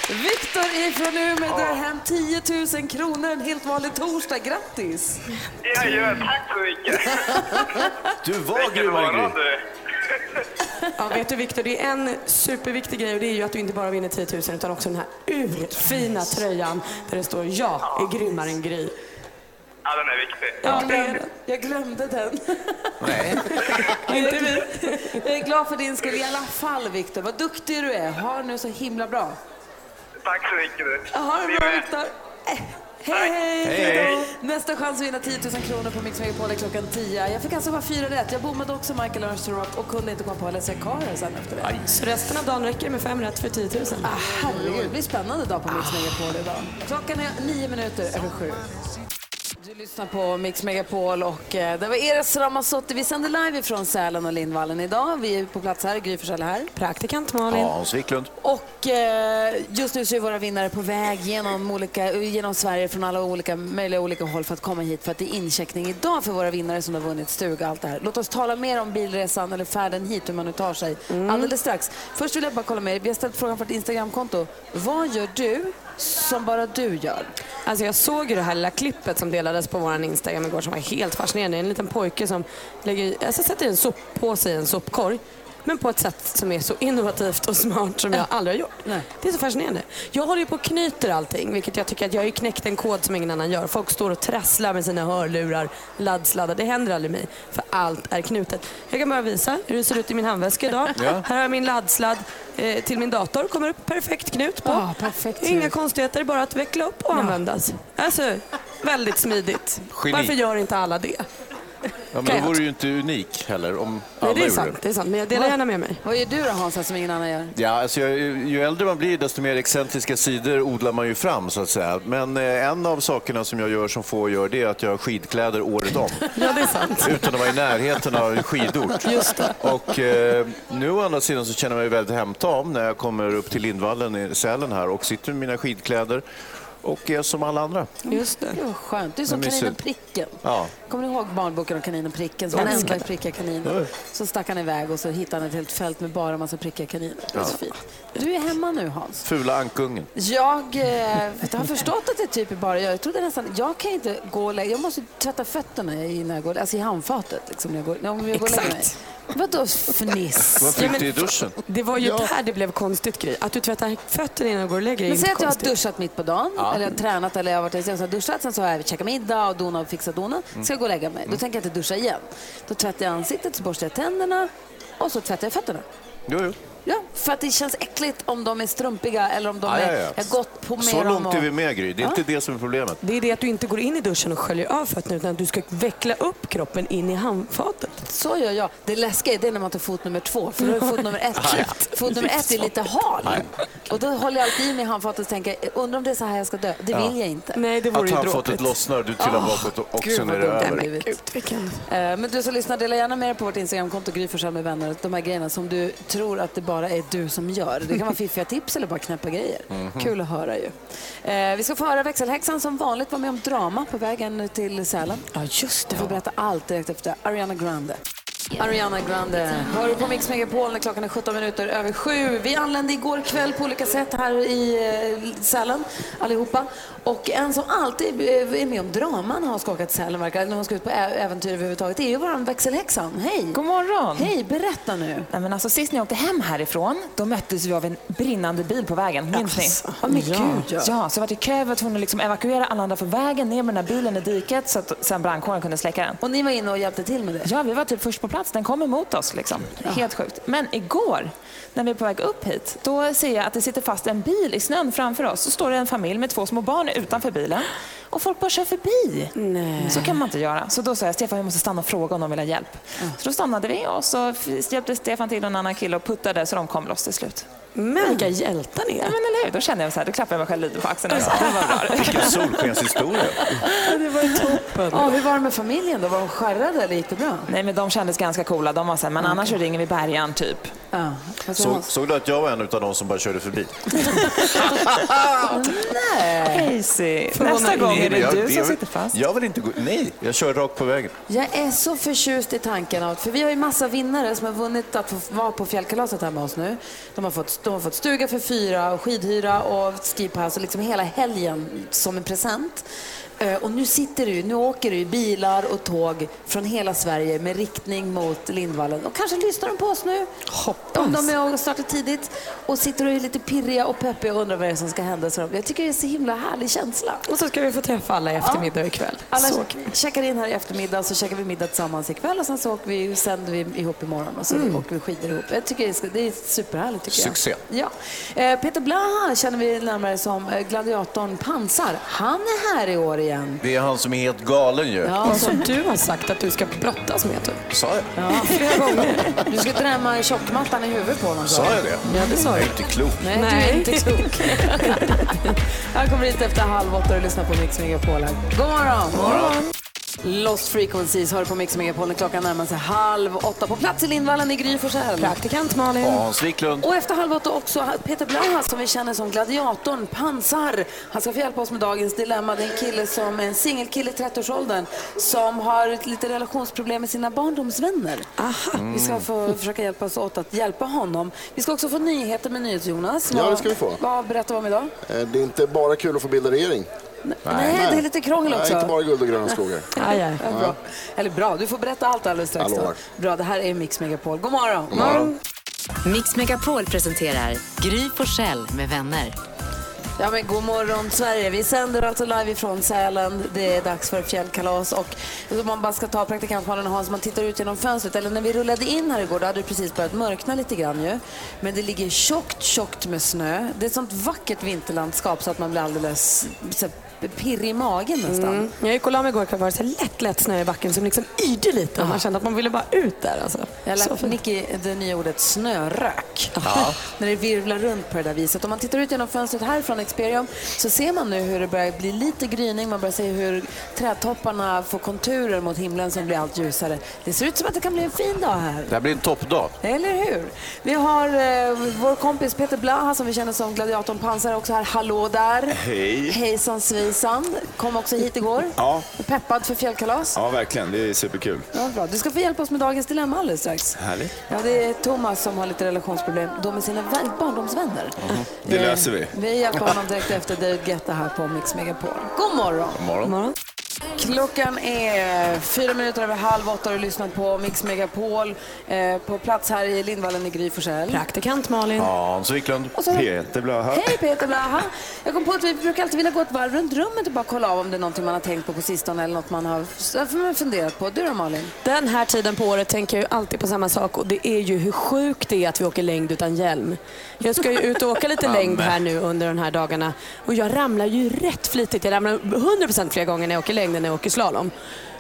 Speaker 5: Viktor ifrån Umeå drar hem 10 000 kronor en helt vanlig torsdag. Grattis!
Speaker 15: Jajamän, tack så mycket!
Speaker 17: Du var
Speaker 15: grymmare
Speaker 17: Gry.
Speaker 6: Ja, vet du Viktor, det är en superviktig grej och det är ju att du inte bara vinner 10 000 utan också den här urfina tröjan där det står “Jag är grymmare än Gry”.
Speaker 15: Ja, den är viktig.
Speaker 6: Ja, det är den.
Speaker 5: Jag glömde den.
Speaker 15: Nej.
Speaker 5: Inte vi. Jag är glad för din skull i alla fall, Viktor. Vad duktig du är. Ha det nu så himla bra.
Speaker 15: Tack så mycket du.
Speaker 5: Ha det bra, Viktor. Eh, Hej,
Speaker 15: Hej,
Speaker 5: hej! Hej då.
Speaker 15: hej.
Speaker 5: Nästa chans att vinna 10 000 kronor på Mix Megapol är klockan 10. Jag fick alltså bara fyra rätt. Jag bommade också Michael Armstrong Rock och kunde inte komma på Alessia Cara sen efter det.
Speaker 6: Så resten av dagen räcker det med fem rätt för 10 000.
Speaker 5: Ah, herregud, det blir spännande dag på Mix Megapol idag. Klockan är nio minuter över sju. Du lyssnar på Mix Megapol och eh, det var Eras Ramazzotti. Vi sänder live ifrån Sälen och Lindvallen idag. Vi är på plats här, Gry Forssell är här.
Speaker 6: Praktikant
Speaker 17: Ja, Hans Wiklund.
Speaker 5: Och eh, just nu så är våra vinnare på väg genom, olika, genom Sverige från alla olika, möjliga olika håll för att komma hit för att det är incheckning idag för våra vinnare som har vunnit stuga och allt det här. Låt oss tala mer om bilresan eller färden hit, hur man nu tar sig alldeles strax. Först vill jag bara kolla med er, vi har ställt frågan för ett Instagramkonto. Vad gör du som bara du gör?
Speaker 6: Alltså jag såg ju det här lilla klippet som delades på vår Instagram igår som var helt fascinerande. En liten pojke som lägger, i- alltså sätter i en soppåse i en sopkorg. Men på ett sätt som är så innovativt och smart som jag aldrig har gjort. Det är så fascinerande. Jag håller ju på och knyter allting, vilket jag tycker att jag har ju knäckt en kod som ingen annan gör. Folk står och trasslar med sina hörlurar, laddsladdar. Det händer aldrig mig, för allt är knutet. Jag kan bara visa hur det ser ut i min handväska idag.
Speaker 5: Ja.
Speaker 6: Här har jag min laddsladd eh, till min dator. Kommer upp perfekt knut på.
Speaker 5: Ja, perfekt
Speaker 6: Inga
Speaker 5: knut.
Speaker 6: konstigheter, bara att veckla upp och användas. Alltså, väldigt smidigt.
Speaker 17: Geni.
Speaker 6: Varför gör inte alla det?
Speaker 17: Ja,
Speaker 6: Kan
Speaker 17: men
Speaker 6: jag
Speaker 17: då vore du ju inte unik heller om alla
Speaker 6: Nej, det är
Speaker 17: gjorde
Speaker 6: sant, det är sant. Men jag delar gärna med mig.
Speaker 5: Vad gör du då Hansa som ingen annan gör?
Speaker 17: Ja, alltså, ju, ju äldre man blir desto mer excentriska sidor odlar man ju fram så att säga. Men eh, en av sakerna som jag gör som få gör det är att jag har skidkläder året om.
Speaker 6: Ja, det är sant.
Speaker 17: Utan att vara i närheten av en skidort.
Speaker 6: Just det.
Speaker 17: Och eh, nu å andra sidan så känner jag mig väldigt hemtam när jag kommer upp till Lindvallen i Sälen här och sitter med mina skidkläder
Speaker 7: och är som alla andra.
Speaker 5: Just det. Vad skönt. Du är som
Speaker 7: Men mysigt.
Speaker 5: kaninen Pricken.
Speaker 7: Ja.
Speaker 5: Kommer ni ihåg barnboken om kaninen Pricken? Som
Speaker 7: Ja.
Speaker 5: var den enda prickiga kaninen.
Speaker 7: Ja.
Speaker 5: Så stack han iväg och så hittade han ett helt fält med bara en massa prickiga kaniner. Det var så
Speaker 7: Ja.
Speaker 5: fint. Du är hemma nu Hans.
Speaker 7: Fula ankungen.
Speaker 5: Jag eh, har förstått att det typ är bara jag. Jag trodde nästan, jag kan inte gå och lägga Jag måste tvätta fötterna innan jag går, alltså i handfatet liksom när jag går, om jag går och lägger mig.
Speaker 18: Exakt.
Speaker 5: Vadå fniss?
Speaker 7: Vad fick du i duschen?
Speaker 18: Det var ju
Speaker 5: Ja.
Speaker 18: där det blev konstigt grej. Att du tvättar fötterna innan du går och lägger dig är
Speaker 5: Men
Speaker 18: inte
Speaker 5: säg att jag har
Speaker 18: konstigt.
Speaker 5: duschat mitt på dagen,
Speaker 18: Ja.
Speaker 5: eller jag har tränat eller jag har varit jag har duschat, sen så har jag käkat middag och donat och fixat donat.
Speaker 18: Mm.
Speaker 5: Ska jag gå och lägga mig. Då
Speaker 18: Mm.
Speaker 5: tänker jag inte duscha igen. Då tvättar jag ansiktet, så borstar jag tänderna och så tvättar jag fötterna.
Speaker 7: Jo, jo.
Speaker 5: Ja, för att det känns äckligt om de är strumpiga eller om de
Speaker 7: Ja,
Speaker 5: är,
Speaker 7: ja, ja.
Speaker 5: jag har gått på med
Speaker 7: Så
Speaker 5: dem.
Speaker 7: långt
Speaker 5: och...
Speaker 7: är vi med Gry, det är
Speaker 5: Ja.
Speaker 7: inte det som är problemet.
Speaker 18: Det är det att du inte går in i duschen och sköljer av fötterna utan att du ska veckla upp kroppen in i handfatet.
Speaker 5: Så gör jag. Det läskiga är det när man tar fot nummer två, för då är fot nummer ett
Speaker 18: Ja.
Speaker 5: klippt. Fot nummer ett är lite hal. Och då håller jag alltid i mig handfatet och tänker, undrar om det är så här jag ska dö. Det
Speaker 7: Ja.
Speaker 5: vill jag inte.
Speaker 18: Nej,
Speaker 7: Att handfatet lossnar, du trillar bakåt och, och
Speaker 5: Ah. Gud,
Speaker 7: sen
Speaker 5: vad
Speaker 7: är det
Speaker 5: dumt
Speaker 7: över.
Speaker 5: har blivit. Eh, Men du som lyssnar, dela gärna med dig på vårt Instagramkonto, Gry Forssell med vänner, de här grejerna som du tror att det bara är du som gör. Det kan vara fiffiga tips eller bara knäppa grejer.
Speaker 18: Mhm.
Speaker 5: Kul att höra ju. Eh, Vi ska få höra växelhäxan som vanligt var med om drama på vägen till Sälen. Ja, just det. Vi får berätta allt direkt efter Ariana Grande. Ariana Grande. Hör du på Mix Megapol när klockan är 17 minuter över sju. Vi anlände igår kväll på olika sätt här i eh, Sälen allihopa. Och en som alltid eh, är med om draman har skakat Sälen verkar, när hon ska ut på ä- äventyr överhuvudtaget, är ju vår växelhäxan. Hej!
Speaker 19: God morgon!
Speaker 5: Hej, berätta nu.
Speaker 19: Nej, men alltså, sist när jag åkte hem härifrån, då möttes vi av en brinnande bil på vägen. Minns
Speaker 5: Alltså,
Speaker 19: ni?
Speaker 5: ja, men gud, ja.
Speaker 19: ja. så var det kö för att hon liksom evakuera alla andra från vägen, ner med den här bilen i diket så att sen brandkåren kunde släcka den.
Speaker 5: Och ni var inne och hjälpte till med det?
Speaker 19: Ja, vi var typ först på plats. Den kom emot oss liksom. Helt sjukt. Men igår, när vi är på väg upp hit, då ser jag att det sitter fast en bil i snön framför oss. Så står det en familj med två små barn utanför bilen och folk bara kör förbi. Så kan man inte göra. Så då sa jag, Stefan vi måste stanna och fråga om de vill ha hjälp. Så då stannade vi och så f- hjälpte Stefan till och en annan kille och puttade så de kom loss till slut.
Speaker 18: Men vilka hjältar ni är.
Speaker 19: Ja, men eller hur? Då kände jag så här, då klappade jag mig själv lite på axeln och sa, det var bra.
Speaker 7: Vilken solskenshistoria.
Speaker 5: Alltså, det var toppen. Ja, hur var det med familjen då? Var de skärrade eller gick det bra?
Speaker 19: Nej, men de kändes ganska coola. De var så här, men annars så ringer vi bärgaren typ.
Speaker 5: Ja,
Speaker 7: Så, såg du att jag var en av de som bara körde förbi?
Speaker 19: Nej. Nästa gång är det
Speaker 7: Jag-
Speaker 19: du som
Speaker 7: jag-
Speaker 19: sitter fast.
Speaker 7: Jag vill inte gå... Nej, jag kör rakt på vägen.
Speaker 5: Jag är så förtjust i tanken av, för vi har ju massa vinnare som har vunnit att få vara på fjällkalaset här med oss nu. De har fått, de har fått stuga för fyra och skidhyra och skipass och liksom hela helgen som en present. Eh, Och nu sitter du, nu åker du i bilar och tåg från hela Sverige med riktning mot Lindvallen. Och kanske lyssnar de på oss nu. Hoppas. Om de är och startar tidigt och sitter och är lite pirriga och peppiga och undrar vad det är som ska hända. Så de, jag tycker det är så himla härlig känsla.
Speaker 18: Och så ska vi få träffa alla i eftermiddag ikväll.
Speaker 5: Alla
Speaker 18: Så
Speaker 5: checkar in här i eftermiddag, så käkar vi middag tillsammans ikväll och sen så åker vi, sänder vi ihop imorgon och så åker vi skidor ihop. Jag tycker det, ska, det är superhärligt tycker
Speaker 7: Succé.
Speaker 5: jag. Ja. Eh, Peter Blaha känner vi närmare som eh, gladiatorn Pansar. Han är här i år igen.
Speaker 7: Det är han som är helt galen ju.
Speaker 5: Ja, som
Speaker 18: du har sagt att du ska brottas med. Typ.
Speaker 7: Sa jag?
Speaker 5: Ja, flera gånger. Du ska drämma tjockmattan i huvudet på honom.
Speaker 7: Sa jag det?
Speaker 5: Ja, det sa
Speaker 7: Jag
Speaker 5: du.
Speaker 7: är inte klok.
Speaker 5: Nej, du är inte klok. Han kommer hit efter halv åtta och lyssnar på Mix Megapol. här. God morgon!
Speaker 18: God morgon.
Speaker 5: Lost Frequencies hör på Mix Megapol när klockan närmar sig halv åtta. På plats i Lindvallen i Gry Forssell.
Speaker 18: Praktikant Malin.
Speaker 7: Och Hans Wiklund.
Speaker 5: Och efter halv åtta också Peter Blaha som vi känner som gladiatorn, pansar. Han ska få hjälpa oss med dagens dilemma. Det är en kille som är en singelkille i 30-årsåldern som har lite relationsproblem med sina barndomsvänner.
Speaker 18: Mm.
Speaker 5: Vi ska få försöka hjälpas åt att hjälpa honom. Vi ska också få nyheter med NyhetsJonas.
Speaker 14: Ja,
Speaker 5: Vad-
Speaker 14: det ska vi få.
Speaker 5: Vad berättar vi om idag?
Speaker 14: Eh, Det är inte bara kul att få bilda regering. Nej,
Speaker 5: Nej, det är lite krångel också.
Speaker 14: Nej, inte bara guld och gröna skogar.
Speaker 5: Aj, aj. Ja,
Speaker 14: Ja.
Speaker 5: bra. Eller bra, du får berätta allt alldeles strax.
Speaker 14: Jag
Speaker 5: Då.
Speaker 14: lovar.
Speaker 5: Bra, det här är Mix Megapol. God morgon.
Speaker 2: God morgon. Mm. Mix Megapol presenterar Gry Forssell med vänner.
Speaker 5: Ja, men god morgon Sverige. Vi sänder alltså live ifrån Sälen. Det är dags för fjällkalas. Och om man bara ska ta praktikantmannen och Hans, man tittar ut genom fönstret. Eller när vi rullade in här igår, då hade det precis börjat mörkna lite grann ju. Men det ligger tjockt, tjockt med snö. Det är ett sånt vackert vinterlandskap så att man blir alldeles så här, pirrig i magen nästan.
Speaker 6: Mm. Jag gick och la mig igår kväll var det så här lätt, lätt snö i backen som liksom yrde lite. Och man kände att man ville bara ut där. Alltså.
Speaker 5: Jag har
Speaker 6: Så
Speaker 5: lärt
Speaker 6: fint.
Speaker 5: Nicky det nya ordet snörök.
Speaker 6: Ja.
Speaker 5: när det virvlar runt på det där viset. Om man tittar ut genom fönstret härifrån Experium så ser man nu hur det börjar bli lite gryning. Man börjar se hur trädtopparna får konturer mot himlen som blir allt ljusare. Det ser ut som att det kan bli en fin dag här.
Speaker 17: Det här blir en toppdag.
Speaker 5: Eller hur? Vi har eh, vår kompis Peter Blaha som vi känner som gladiatorn Pansar också här. Hallå där!
Speaker 20: Hej.
Speaker 5: Hejsan svejsan! Kom också hit igår.
Speaker 20: Ja.
Speaker 5: Peppad för fjällkalas.
Speaker 20: ja, verkligen. Det är superkul.
Speaker 5: Ja, bra. Du ska få hjälpa oss med dagens dilemma alldeles strax.
Speaker 20: Härligt.
Speaker 5: Ja, det är Thomas som har lite relationsproblem. De är sina vän, barndomsvänner.
Speaker 20: Det
Speaker 5: Eh,
Speaker 20: löser vi.
Speaker 5: Vi hjälper honom direkt efter David Guetta här på Mix Megapol. God morgon!
Speaker 20: God morgon.
Speaker 5: Klockan är fyra minuter över halv åtta och du lyssnar på Mix Megapol. Eh, på plats här i Lindvallen i Gry Forssell.
Speaker 6: Praktikant Malin.
Speaker 7: Hans Wiklund.
Speaker 5: Och så-
Speaker 7: Peter Blaha.
Speaker 5: Hej Peter Blaha! Jag kom på att vi brukar alltid vilja gå ett varv runt rummet och bara kolla av om det är någonting man har tänkt på på sistone eller något man har så får man funderat på. Du då Malin?
Speaker 6: Den här tiden på året tänker jag ju alltid på samma sak och det är ju hur sjukt det är att vi åker längd utan hjälm. Jag ska ju ut och åka lite längd här nu under de här dagarna och jag ramlar ju rätt flitigt. Jag ramlar 100% fler gånger när jag åker längd än när jag åker slalom.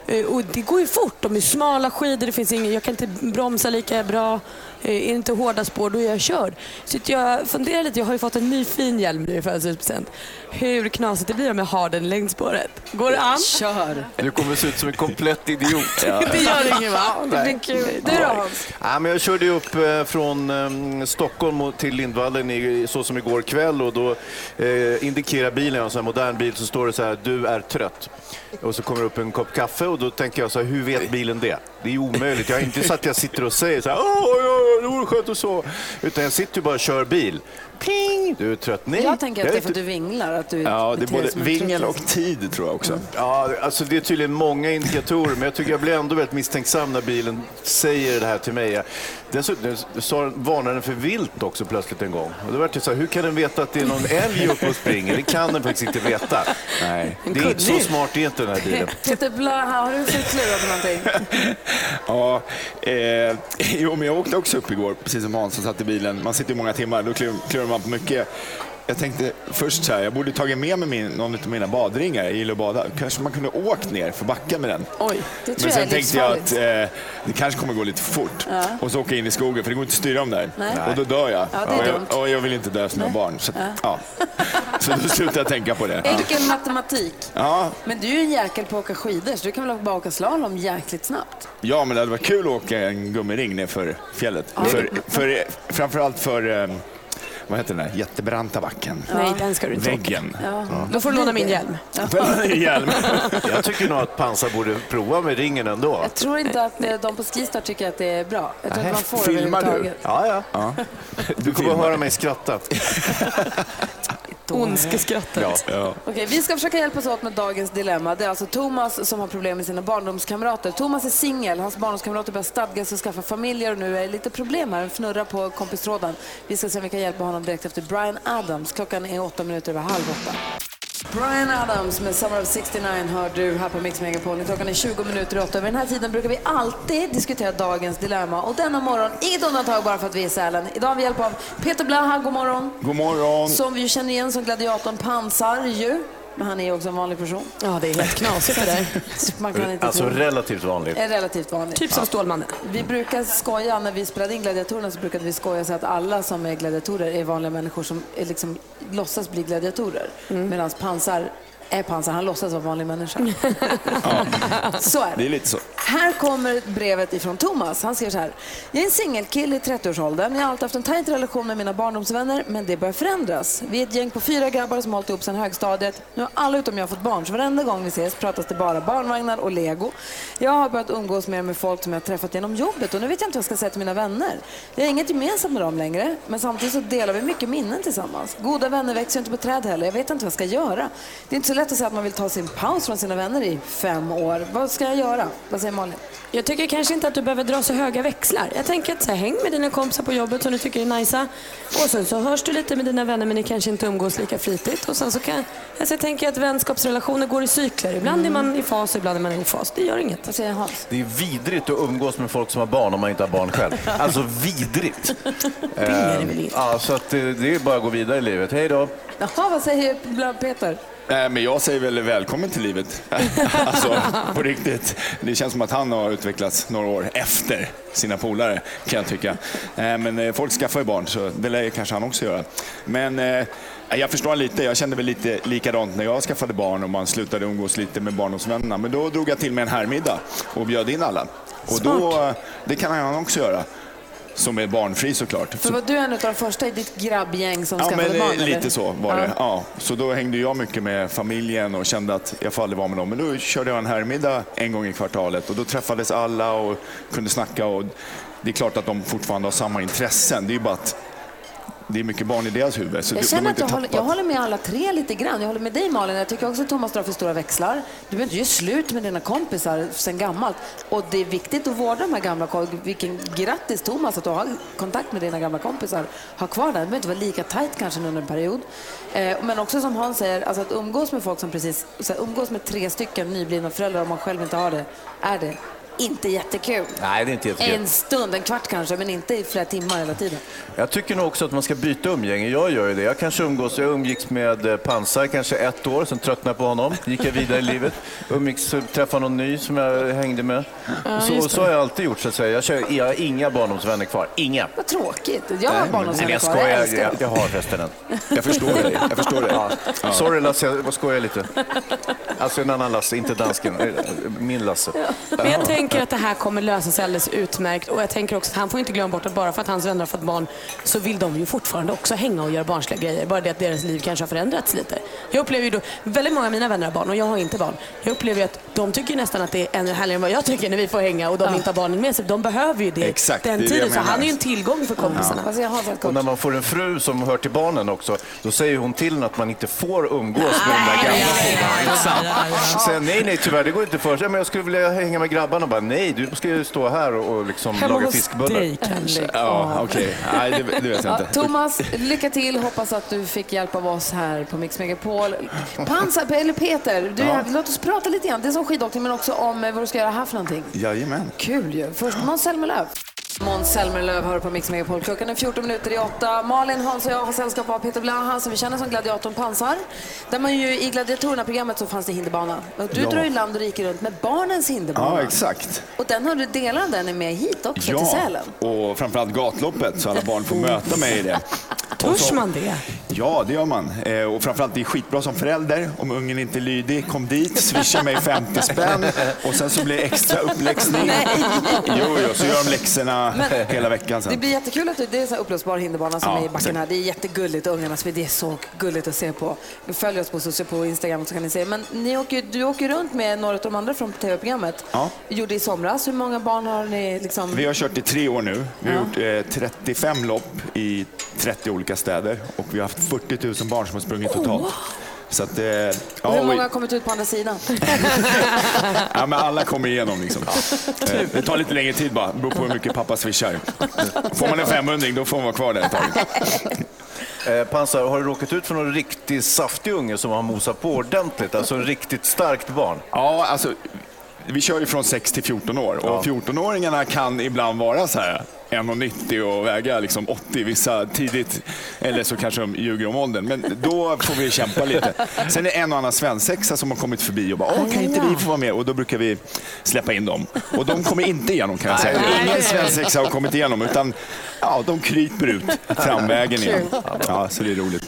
Speaker 6: Eh, Och det går ju fort. De är smala skidor, det finns ingen, jag kan inte bromsa lika bra. Eh, Är det inte hårda spår, då är jag körd. Så att jag funderar lite. Jag har ju fått en ny fin hjälm nu i födelsedagspresent. Hur knasigt det blir om jag har den längdspåret. Går det an?
Speaker 5: Kör!
Speaker 7: Du kommer se ut som en komplett idiot. Ja.
Speaker 6: Det gör inget va? Det blir
Speaker 7: Nej.
Speaker 6: kul. Du då Hans?
Speaker 7: Ja, men jag körde ju upp eh, från eh, Stockholm och- till Lindvallen i, så som igår kväll och då eh, indikerar bilen, jag har en sån här modern bil, så står det så här du är trött. Och så kommer det upp en kopp kaffe och då tänker jag så här, hur vet bilen det? Det är ju omöjligt. Jag är inte så att jag sitter och säger så här, åh, åh, åh, det vore skönt och så. Utan jag sitter ju bara och kör bil. Pling! Du är trött. Nej,
Speaker 5: jag tänker att
Speaker 7: jag är
Speaker 5: det är för att du vinglar. Att du
Speaker 7: Ja, det är
Speaker 5: beter dig
Speaker 7: både
Speaker 5: som en trött
Speaker 7: vingel och
Speaker 5: liksom.
Speaker 7: tid tror jag också. Ja, alltså det är tydligen många indikatorer, men jag tycker jag blir ändå väldigt misstänksam när bilen säger det här till mig. Dessutom sa den- varnade den för vilt också plötsligt en gång. Och då vart det så här, hur kan den veta att det är någon älg uppe och springer? Det kan den faktiskt inte veta. Nej. Det är inte så smart är inte den här bilen.
Speaker 5: Peter Blaha, Typ har du klurat på någonting?
Speaker 20: Ja, eh, jo, men jag åkte också upp igår, precis som Hans, och satt i bilen. Man sitter ju många timmar, då klur- klurar man på mycket. Jag tänkte först så här, jag borde tagit med mig min, någon av mina badringar, jag gillar att bada. Kanske man kunde åkt ner för backen med den.
Speaker 5: Oj, det
Speaker 20: Men
Speaker 5: tror jag
Speaker 20: sen
Speaker 5: är
Speaker 20: tänkte jag
Speaker 5: livsfarligt.
Speaker 20: att eh, det kanske kommer gå lite för fort.
Speaker 5: Ja.
Speaker 20: Och så åker jag in i skogen, för det går inte att styra dem där.
Speaker 5: Nej.
Speaker 20: Och då dör jag.
Speaker 5: Ja, det är
Speaker 20: och,
Speaker 5: dumt.
Speaker 20: jag och jag vill inte dö som mina barn. Så, ja. så då slutade jag tänka på det.
Speaker 5: Enkel matematik.
Speaker 20: Ja,
Speaker 5: Men du är ju en jäkel på att åka skidor så du kan väl bara åka slalom jäkligt snabbt?
Speaker 20: Ja, men det hade varit kul att åka en gummiring ner för fjället.
Speaker 5: Ja.
Speaker 20: För, för, framförallt för, eh, vad heter den där jättebranta backen.
Speaker 6: Nej, den ska du inte åka.
Speaker 20: Väggen.
Speaker 5: Ja.
Speaker 6: Då får du låna min hjälm.
Speaker 7: Jag tycker nog att pansar borde prova med ringen ändå.
Speaker 5: Jag tror inte att eh, de på Skistar tycker att det är bra. Jag tror att man får överhuvudtaget.
Speaker 7: Ja, ja. Du kommer att höra mig skratta.
Speaker 6: Ondskeskrattet.
Speaker 7: Ja, ja.
Speaker 5: Okej, vi ska försöka hjälpas åt med dagens dilemma. Det är alltså Thomas som har problem med sina barndomskamrater. Thomas är singel, hans barndomskamrater börjar stadga sig och skaffa familjer och nu är det lite problem här. En fnurra på kompistrådan. Vi ska se om vi kan hjälpa honom direkt efter Brian Adams. Klockan är åtta minuter över halv åtta. Brian Adams med Summer of 69 hör du här på Mix Megapol. Klockan är 20 minuter i åtta. Vid den här tiden brukar vi alltid diskutera dagens dilemma och denna morgon, inget undantag bara för att vi är i Sälen. Idag har vi hjälp av Peter Blaha, god morgon.
Speaker 20: God morgon.
Speaker 5: Som vi ju känner igen som gladiatorn Pansar ju. Men han är ju också en vanlig person.
Speaker 6: Ja, det är helt knasigt det där.
Speaker 5: Man kan inte
Speaker 7: Alltså
Speaker 5: tro.
Speaker 7: relativt vanligt.
Speaker 5: Är relativt vanligt.
Speaker 6: Typ som Stålmannen.
Speaker 5: Vi brukar skoja, när vi spelade in Gladiatorerna så brukade vi skoja så att alla som är gladiatorer är vanliga människor som är liksom, låtsas bli gladiatorer.
Speaker 6: Mm.
Speaker 5: Medan pansar är pansar, han låtsas vara vanlig människa. Så är det.
Speaker 20: Det är lite så.
Speaker 5: Här kommer brevet ifrån Thomas. Han skriver så här. Jag är en singelkille i 30-årsåldern. Jag har alltid haft en tajt relation med mina barndomsvänner, men det börjar förändras. Vi är ett gäng på fyra grabbar som har hållit ihop sedan högstadiet. Nu har alla utom jag fått barn, så varenda gång vi ses pratas det bara barnvagnar och lego. Jag har börjat umgås mer med folk som jag har träffat genom jobbet och nu vet jag inte vad jag ska säga till mina vänner. Jag har inget gemensamt med dem längre, men samtidigt så delar vi mycket minnen tillsammans. Goda vänner växer ju inte på träd heller. Jag vet inte vad jag ska göra. Det är inte så lätt att säga att man vill ta sin paus från sina vänner i fem år. Vad ska jag göra? Vad säger Malin?
Speaker 6: Jag tycker kanske inte att du behöver dra så höga växlar. Jag tänker att så här, häng med dina kompisar på jobbet som du tycker är najsa. Och sen så hörs du lite med dina vänner men ni kanske inte umgås lika flitigt. Och sen så kan, alltså jag tänker att vänskapsrelationer går i cykler. Ibland är man i fas och ibland är man i fas. Det gör inget.
Speaker 5: Vad säger Hans?
Speaker 7: Det är vidrigt att umgås med folk som har barn om man inte har barn själv. Alltså vidrigt. Ehm, det är det väl inte? Ja, så att eh, det är bara att gå vidare i livet. Hej då.
Speaker 5: Jaha, vad säger Bla- Peter?
Speaker 20: Nej, men jag säger väl välkommen till livet. alltså, på riktigt. Det känns som att han har utvecklats några år efter sina polare, kan jag tycka. Eh, Men eh, folk skaffar ju barn, så det lär ju kanske han också göra. Men eh, jag förstår han lite. Jag kände väl lite likadant när jag skaffade barn och man slutade umgås lite med barndomsvännerna. Men då drog jag till med en herrmiddag och bjöd in alla. Och då, eh, det kan han också göra. Som är barnfri såklart.
Speaker 5: För
Speaker 20: Så-
Speaker 5: var du en av de första i ditt grabbgäng som
Speaker 20: Ja,
Speaker 5: skaffade
Speaker 20: men
Speaker 5: barn?
Speaker 20: eh,
Speaker 5: eller?
Speaker 20: lite så var
Speaker 5: Ja.
Speaker 20: det. Ja, så då hängde jag mycket med familjen och kände att jag får aldrig vara med dem. Men då körde jag en herrmiddag en gång i kvartalet och då träffades alla och kunde snacka. Och det är klart att de fortfarande har samma intressen. Det är ju bara att det är mycket barn i deras huvud. Så
Speaker 5: Jag
Speaker 20: de, de
Speaker 5: känner
Speaker 20: har
Speaker 5: att
Speaker 20: inte
Speaker 5: jag håller,
Speaker 20: tappat.
Speaker 5: jag håller med alla tre lite grann. Jag håller med dig Malin. Jag tycker också att Thomas drar för stora växlar. Du behöver inte göra slut med dina kompisar sen gammalt. Och det är viktigt att vårda de här gamla kompisarna. Vilken grattis Thomas att du har kontakt med dina gamla kompisar. Ha kvar den. Du behöver inte vara lika tajt kanske under en period. Eh, men också som Hans säger, alltså att umgås med folk som precis, så här, umgås med tre stycken nyblivna föräldrar om man själv inte har det, är det inte jättekul.
Speaker 17: Nej, det är inte jättekul.
Speaker 5: En stund, en kvart kanske, men inte i flera timmar hela tiden.
Speaker 7: Jag tycker nog också att man ska byta umgänge. Jag gör ju det. Jag kanske umgås, jag umgicks med eh, Pansar kanske ett år, sen tröttnade jag på honom. Gick jag vidare i livet. Umgicks, eh, träffade någon ny som jag hängde med.
Speaker 5: Ja,
Speaker 7: så,
Speaker 5: just det.
Speaker 7: så har jag alltid gjort så att säga. Jag, kör, jag har inga barndomsvänner kvar. Inga.
Speaker 5: Vad tråkigt. Jag har
Speaker 7: Nej, men
Speaker 5: barndomsvänner
Speaker 7: jag
Speaker 5: kvar. Jag
Speaker 7: skojar,
Speaker 5: älskar
Speaker 7: jag,
Speaker 5: dem.
Speaker 7: jag har förresten en.
Speaker 20: Jag förstår dig, jag förstår dig.
Speaker 7: Ja. Sorry Lasse, jag jag skojar lite. Alltså en annan Lasse, inte dansken. Min Lasse.
Speaker 6: Men jag tänker att det här kommer lösa sig alldeles utmärkt och jag tänker också att han får inte glömma bort att bara för att hans vänner har fått barn så vill de ju fortfarande också hänga och göra barnsliga grejer. Bara det att deras liv kanske har förändrats lite. Jag upplever ju då, väldigt många av mina vänner har barn och jag har inte barn. Jag upplever ju att de tycker ju nästan att det är ännu härligare än vad jag tycker när vi får hänga och de inte har barnen med sig. De behöver ju det
Speaker 7: Exakt,
Speaker 6: den
Speaker 7: det är det
Speaker 6: tiden.
Speaker 7: jag
Speaker 6: så
Speaker 7: menar.
Speaker 6: han är ju en tillgång för kompisarna.
Speaker 7: Ja. Och när man får en fru som hör till barnen också, då säger hon till att man inte får umgås med de där gamla killarna. Inte sant? Säger nej, nej, tyvärr, det går inte för sig. Ja, Men jag skulle vilja hänga med grabbarna och bara, nej, du ska ju stå här och, och liksom
Speaker 5: Hemma
Speaker 7: laga
Speaker 5: hos
Speaker 7: fiskbullar.
Speaker 5: dig kanske.
Speaker 20: Ja, okej. Nej, det, det vet jag
Speaker 5: Ja,
Speaker 20: inte.
Speaker 5: Thomas, lycka till. Hoppas att du fick hjälp av oss här på Mix Megapol. Pansar, eller Peter, du, är
Speaker 20: Ja.
Speaker 5: här. låt oss prata lite grann. Det är som skidåkning, men också om eh, vad du ska göra här för någonting.
Speaker 20: Jajamän.
Speaker 5: Kul ju. Först Måns Zelmerlöw. Måns Zelmerlöw hör på Mix Megapol. Klockan är 14 minuter i åtta. Malin, Hans och jag har sällskap av Peter Blaha som vi känner som gladiatorn Pansar. Där man ju i Gladiatorerna-programmet så fanns det hinderbana. Och du
Speaker 20: Ja.
Speaker 5: drar ju land och rike runt med barnens hinderbana.
Speaker 20: Ja, exakt.
Speaker 5: Och den har du delar av den är med hit också till Sälen.
Speaker 20: och framförallt gatloppet så alla barn får möta mig i det.
Speaker 6: Törs man det?
Speaker 20: Ja, det gör man. Eh, och framförallt det är skitbra som förälder. Om ungen inte är lydig, kom dit, swisha mig 50 spänn och sen så blir det extra uppläxning.
Speaker 5: Nej.
Speaker 20: Jo, jo, så gör de läxorna
Speaker 5: Men-
Speaker 20: hela veckan
Speaker 5: Det
Speaker 20: sen.
Speaker 5: blir jättekul att du, det är så här upplösbar hinderbana som
Speaker 20: Ja,
Speaker 5: är i backen
Speaker 20: exakt.
Speaker 5: här. Det är jättegulligt. Ungarna, så det är så gulligt att se på. Följ oss på, social, på Instagram så kan ni se. Men ni åker, du åker runt med några av de andra från TV-programmet.
Speaker 20: Ja.
Speaker 5: Gjorde i somras. Hur många barn har ni liksom?
Speaker 20: Vi har kört i tre år nu. Vi har
Speaker 5: Ja.
Speaker 20: gjort eh, 35 lopp i 30 olika städer och vi har haft 40 000 barn som har sprungit totalt. Så att, eh, ja,
Speaker 5: Oh, Och hur
Speaker 20: och-
Speaker 5: många har kommit ut på andra sidan?
Speaker 20: Ja, men alla kommer igenom. Liksom. Eh, Det tar
Speaker 5: typ.
Speaker 20: lite längre tid bara, beror på hur mycket pappa swishar. Får man en 500 då får man vara kvar där ett tag.
Speaker 7: Eh, Pansar, har du råkat ut för någon riktigt saftig unge som har mosat på ordentligt? Alltså en riktigt starkt barn?
Speaker 20: Ja, alltså vi kör ju från 6 till 14 år och 14-åringarna kan ibland vara så här 1,90 och väga liksom 80 vissa tidigt. Eller så kanske de ljuger om åldern. Men då får vi kämpa lite. Sen är det en och annan svensexa som har kommit förbi och bara Åh, kan inte vi få vara med? Och då brukar vi släppa in dem. Och de kommer inte igenom kan jag säga.
Speaker 7: Nej.
Speaker 20: Ingen svensexa har kommit igenom utan ja, de kryper ut framvägen igen.
Speaker 7: Kul.
Speaker 20: Ja, så det är roligt.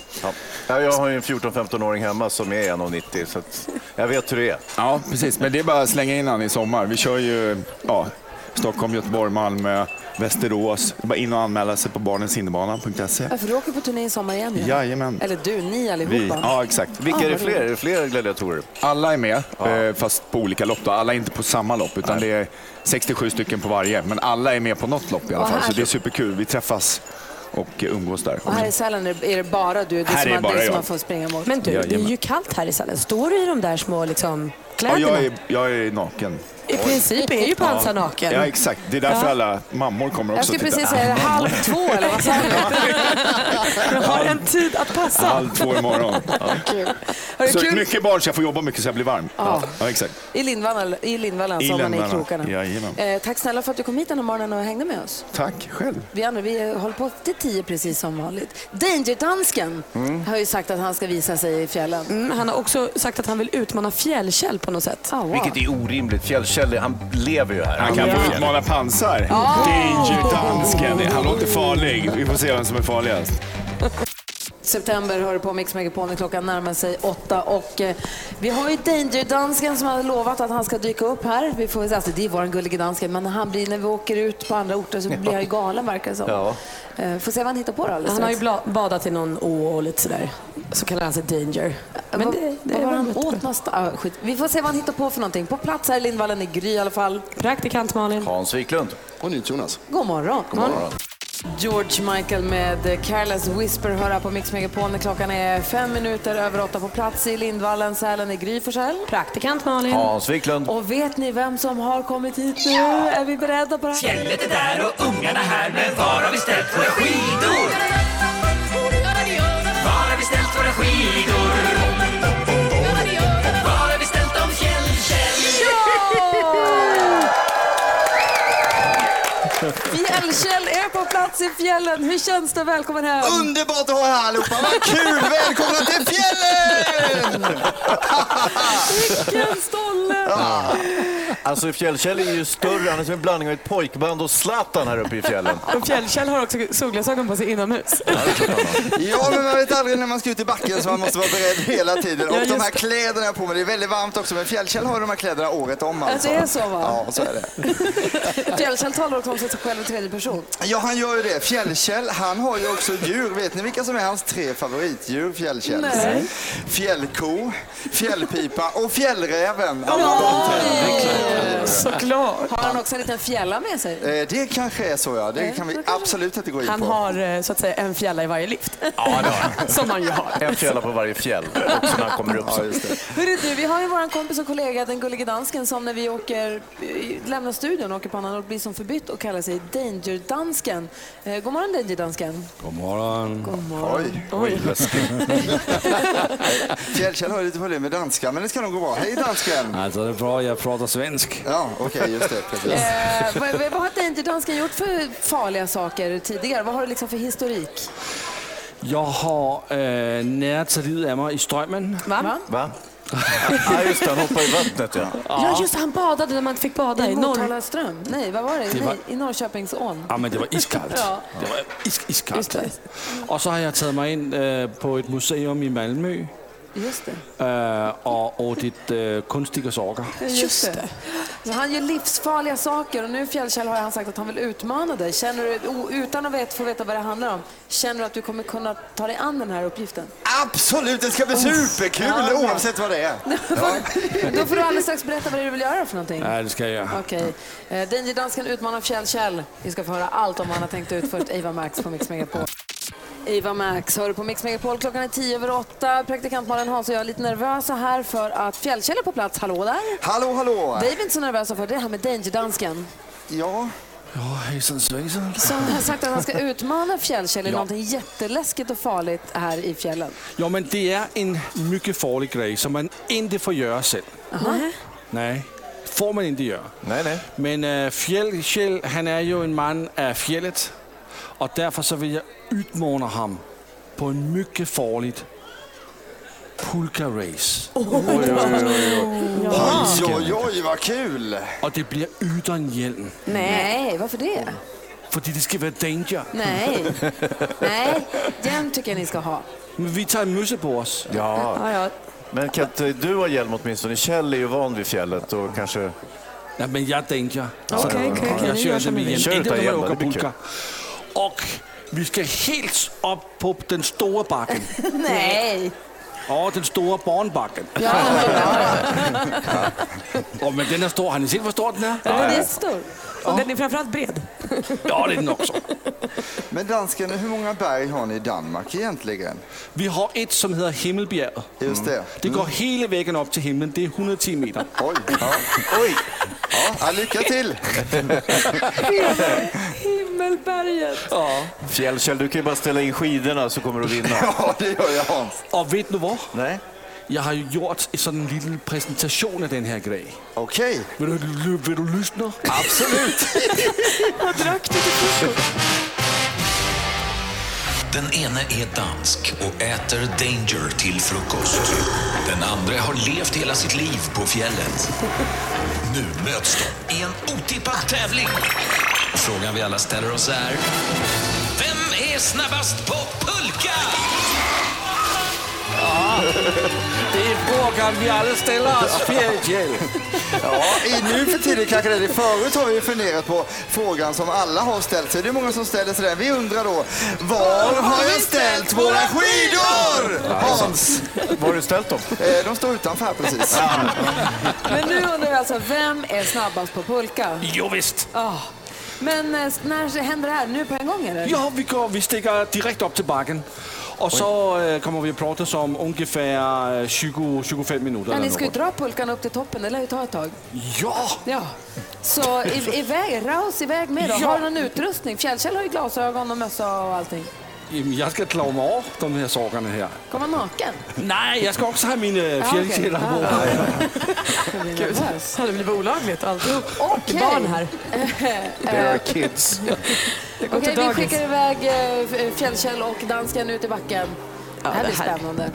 Speaker 7: Ja, jag har ju en 14-15-åring hemma som är 1,90 så att jag vet hur det är.
Speaker 20: Ja, precis. Men det är bara att slänga in han i sommar. Vi kör ju ja, Stockholm, Göteborg, Malmö, Västerås. Det är bara in och anmäla sig på barnenshinderbana.se.
Speaker 5: Ja, för du åker på turné i sommar igen. ju.
Speaker 20: Jajamän.
Speaker 5: Eller du, ni allihopa.
Speaker 20: Vi, ja, exakt.
Speaker 5: Vilka är det fler? Är
Speaker 7: det fler gladiatorer?
Speaker 20: Alla är med, eh, fast på olika lopp. Då. Alla är inte på samma lopp, utan det är 67 stycken på varje. Men alla är med på något lopp i alla
Speaker 5: Vad
Speaker 20: fall, så
Speaker 5: härligt.
Speaker 20: det är superkul. Vi träffas och eh, umgås där.
Speaker 5: Och här i Sälen är det- är det bara du, det
Speaker 20: Här
Speaker 5: som,
Speaker 20: är
Speaker 5: har-
Speaker 20: bara
Speaker 5: det som
Speaker 20: jag.
Speaker 5: man får springa mot.
Speaker 6: Men du, det är
Speaker 20: Jajamän.
Speaker 6: ju kallt här i Sälen. Står du i de där små liksom,
Speaker 20: Ja,
Speaker 6: kläderna?
Speaker 20: jag, är, jag är naken.
Speaker 6: I princip är ju Pansar naken.
Speaker 20: Ja, exakt. Det är därför
Speaker 6: Ja.
Speaker 20: alla mammor kommer
Speaker 6: Jag
Speaker 20: också
Speaker 6: skulle
Speaker 20: titta.
Speaker 6: precis säga halv två eller vad sa du? Jag har en tid att passa.
Speaker 20: Halv två imorgon. Ja.
Speaker 5: Har du
Speaker 20: Så
Speaker 5: kul?
Speaker 20: mycket barn så jag får jobba mycket så jag blir varm.
Speaker 5: Ja.
Speaker 20: Ja, exakt.
Speaker 5: I Lindvallen, i Lindvallen
Speaker 20: I
Speaker 5: som man är i
Speaker 20: Lindvallen,
Speaker 5: krokarna.
Speaker 20: jajamän.
Speaker 5: Eh, tack snälla för att du kom hit den här morgonen och hängde med oss.
Speaker 20: Tack själv.
Speaker 5: Vi andra vi eh, håller på till tio precis som vanligt. Danger-dansken har ju sagt att han ska visa sig i fjällen.
Speaker 6: Mm, han har också sagt att han vill utmana Fjällkäll på något sätt.
Speaker 5: Ah,
Speaker 17: Vilket är orimligt. Fjällkäll, han lever ju här.
Speaker 20: Han kan få utmana pansar.
Speaker 6: Ah.
Speaker 20: Danger dansken. Han låter farlig. Vi får se vem som är farligast.
Speaker 5: September hör du på Mix Megapol när klockan närmar sig åtta. Och, eh, vi har ju Danger-dansken som har lovat att han ska dyka upp här. Vi får, alltså, det är vår gullige dansken, men han blir, när vi åker ut på andra orter så blir han ju galen verkar det som.
Speaker 6: Ja.
Speaker 5: Eh, får se vad han hittar på då alldeles
Speaker 6: Han har ju
Speaker 5: strax.
Speaker 6: bla- badat i någon å och lite sådär. Så kallar han sig Danger. Men
Speaker 5: Vad-
Speaker 6: det, det
Speaker 5: vad
Speaker 6: är
Speaker 5: var
Speaker 6: väl
Speaker 5: han
Speaker 6: bättre.
Speaker 5: åt någonstans? Ah, skit. Vi får se vad han hittar på för någonting. På plats här i Lindvallen i Gry i alla fall.
Speaker 6: Praktikant Malin.
Speaker 17: Hans Wiklund.
Speaker 14: Och Jonas.
Speaker 5: God morgon.
Speaker 17: God morgon.
Speaker 5: George Michael med eh, Careless Whisper hör här på Mix Megapol när klockan är fem minuter över åtta på plats i Lindvallen, Sälen i Gry Forssell.
Speaker 6: Praktikant Malin.
Speaker 17: Hans Wiklund.
Speaker 5: Och vet ni vem som har kommit hit nu? Är vi beredda på det här?
Speaker 9: Fjället är där och ungarna här Men var har vi ställt våra skidor? Var har vi ställt våra skidor? Var har vi ställt dem fjällkäll?
Speaker 5: Fjällkäll är på plats i fjällen. Hur känns det? Välkommen hem!
Speaker 21: Underbart att ha er allihopa, vad kul! Välkomna till fjällen!
Speaker 5: Vilken stolle!
Speaker 17: Alltså Fjällkäll är ju större, han är som en blandning av ett pojkband och Zlatan här uppe i fjällen.
Speaker 19: Och Fjällkäll har också solglasögon på sig inomhus.
Speaker 21: Ja, men man vet aldrig när man ska ut i backen så man måste vara beredd hela tiden. Och
Speaker 19: Ja, just
Speaker 21: de här
Speaker 19: det.
Speaker 21: kläderna jag har på mig, det är väldigt varmt också, men Fjällkäll har ju de här kläderna året om
Speaker 5: Ja,
Speaker 21: alltså.
Speaker 5: det är så, va?
Speaker 21: Ja, så är det.
Speaker 5: Fjällkäll talar också om sig själv i tredje person.
Speaker 21: Ja, han gör ju det. Fjällkäll, han har ju också djur. Vet ni vilka som är hans tre favoritdjur, Fjällkäll?
Speaker 5: Nej.
Speaker 21: Fjällko, fjällpipa och fjällräven.
Speaker 19: Såklart.
Speaker 5: Har han också en liten fjälla med sig?
Speaker 21: Eh, Det kanske är så, ja. Det kan vi absolut inte gå in
Speaker 19: Han
Speaker 21: på.
Speaker 19: har eh, så att säga en fjälla i varje lift. Som man ju har.
Speaker 17: En fjälla på varje fjäll, också när han kommer upp.
Speaker 21: Ja, just det.
Speaker 5: Hörru du, vi har ju vår kompis och kollega, den gullige dansken, som när vi åker, eh, lämnar studion och åker på annan ort blir som förbytt och kallar sig Danger-dansken. Eh, god morgon Danger-dansken.
Speaker 12: God morgon.
Speaker 5: God morgon.
Speaker 12: Oj.
Speaker 21: Fjällkäll har ju lite problem med danska, men det ska nog gå bra. Hej dansken!
Speaker 12: Alltså det är bra, jag pratar svensk.
Speaker 21: Ja, okej, just det. Precis.
Speaker 5: Eh, vad, vad vad har Danger-dansken gjort för farliga saker tidigare? Vad har du liksom för historik?
Speaker 12: Jag har eh, närat sig livet av mig i strömmen.
Speaker 5: Va? Va?
Speaker 17: Va? Ja, just det, han hoppar i vattnet ja.
Speaker 6: Ja, just det, han badade när man inte fick bada i
Speaker 5: I
Speaker 6: norr.
Speaker 5: Motala ström? Nej, vad var det?
Speaker 12: Det var-
Speaker 5: Nej, I Norrköpingsån?
Speaker 12: Ja, Ah, men det var iskallt.
Speaker 5: Ja.
Speaker 12: Det var is iskallt.
Speaker 5: Just
Speaker 12: Och så har jag tagit mig in eh, på ett museum i Malmö
Speaker 5: Just det.
Speaker 12: eh, och åtit eh, konstiga saker.
Speaker 5: Just det. Så han gör livsfarliga saker och nu Fjällkäll har han sagt att han vill utmana dig. Känner du, o- utan att vet, få veta vad det handlar om, känner du att du kommer kunna ta dig an den här uppgiften?
Speaker 21: Absolut, det ska bli superkul
Speaker 5: Ja, bra.
Speaker 21: oavsett vad det är.
Speaker 5: Då får du alldeles strax berätta vad det är du vill göra för någonting.
Speaker 12: Ja, det ska jag göra.
Speaker 5: Okej. Eh, Okay. Danger-dansken utmanar Fjällkäll. Vi ska få höra allt om vad han har tänkt ut först. Eva Max på Mix Megapol. Eva Max hör du på Mix Megapol. Klockan är tio över åtta. Praktikant Malin Hans och jag är lite nervösa här för att Fjällkäll är på plats. Hallå där!
Speaker 21: Hallå, hallå!
Speaker 5: Dave är inte så nervösa för det här med Danger-dansken.
Speaker 21: Ja.
Speaker 12: Ja, hejsan svejsan.
Speaker 5: Som har sagt att han ska utmana Fjällkäll i
Speaker 12: Ja.
Speaker 5: någonting jätteläskigt och farligt här i fjällen.
Speaker 12: Jo, men det är en mycket farlig grej som man inte får göra själv.
Speaker 5: Aha.
Speaker 12: Nej, får man inte göra.
Speaker 17: Nej, nej.
Speaker 12: Men äh, Fjällkäll, han är ju en man av fjället. Och därför så vill jag utmana honom på en mycket farligt pulka-race.
Speaker 21: Oj, oj, oj, vad kul!
Speaker 12: Och det blir utan hjälm.
Speaker 5: Nej, varför det?
Speaker 12: För det ska vara danger.
Speaker 5: Nej. Nej, den tycker jag ni ska ha.
Speaker 12: Men vi tar en mössa på oss.
Speaker 17: Ja.
Speaker 5: ja.
Speaker 17: Men kan inte du ha hjälm åtminstone? Kjell är ju van vid fjället och kanske...
Speaker 12: Nej, men jag danger.
Speaker 17: Okej, okej, okej.
Speaker 12: Jag
Speaker 17: Ni
Speaker 12: kör
Speaker 17: gör
Speaker 12: inte
Speaker 17: som ni
Speaker 12: med
Speaker 17: vill. Kör
Speaker 12: hjälm. Inte
Speaker 17: utan
Speaker 12: när jag
Speaker 17: hjälm,
Speaker 12: åker
Speaker 17: det blir kul.
Speaker 12: pulka. Och vi ska helt upp på den stora backen.
Speaker 5: Nej.
Speaker 12: Ja, den stora barnbacken. Åh, men den är stor. Har ni sett hur stor den är?
Speaker 6: Den är stor. Och den är framförallt bred.
Speaker 12: Ja, det är den också.
Speaker 21: Men dansken, hur många berg har ni i Danmark egentligen?
Speaker 12: Vi har ett som heter Mm. Himmelbjerget.
Speaker 21: Just det. Mm.
Speaker 12: Det går hela vägen upp till himlen. Det är 110 meter.
Speaker 21: Oj. Ja, lycka till!
Speaker 19: Himmelberget.
Speaker 12: Ja.
Speaker 7: Fjällkäll, du kan ju bara ställa in skidorna så kommer du vinna.
Speaker 12: Ja, det gör jag Hans. Och vet du vad? Nej. Jag har ju gjort en sådan liten presentation av den här grejen. Okej. Vill, du, vill du lyssna? Absolut.
Speaker 19: Jag drack lite
Speaker 9: Den ene är dansk och äter Danger till frukost. Den andra har levt hela sitt liv på fjället. Nu möts de i en otippad tävling. Frågan vi alla ställer oss är... Vem är snabbast på pulka?
Speaker 12: Det är frågan vi alla ställer oss, Fjällkäll.
Speaker 21: Ja, i nu för tiden kanske det är det. Förut har vi ju funderat på frågan som alla har ställt sig. Det är många som ställer sig den. Vi undrar då, var har jag ställt våra skidor? Hans!
Speaker 7: Var har du ställt dem?
Speaker 21: Eh, De står utanför här precis.
Speaker 5: Men nu undrar vi alltså, vem är snabbast på pulka?
Speaker 12: Jo, visst.
Speaker 5: Ah. Men eh, när händer det här? Nu på en gång eller?
Speaker 12: Ja, vi, går, vi sticker direkt upp till backen. Och så eh, kommer vi att prata om ungefär 20-25 minuter.
Speaker 5: Ja,
Speaker 12: eller
Speaker 5: ni ska ju
Speaker 12: något.
Speaker 5: dra pulkan upp till toppen, det lär ju ta ett tag.
Speaker 12: Ja!
Speaker 5: Ja. Så i- iväg, raus iväg med då.
Speaker 12: Ja.
Speaker 5: Har du någon utrustning? Fjällkäll har ju glasögon och mössa och allting.
Speaker 12: Jamen, jag ska klara mig av de här sakerna här.
Speaker 5: Kommer han naken?
Speaker 12: Nej, jag ska också ha mina
Speaker 5: okej.
Speaker 12: fjällkällor øh, på.
Speaker 5: Ah.
Speaker 12: Gud,
Speaker 5: det hade blivit olagligt alltihop. Okej.
Speaker 6: Barn här.
Speaker 5: Eh,
Speaker 7: kids.
Speaker 5: Okej, vi skickar iväg eh, Fjällkäll och dansken ut i backen. det här
Speaker 6: det
Speaker 5: blir
Speaker 6: här-
Speaker 5: spännande.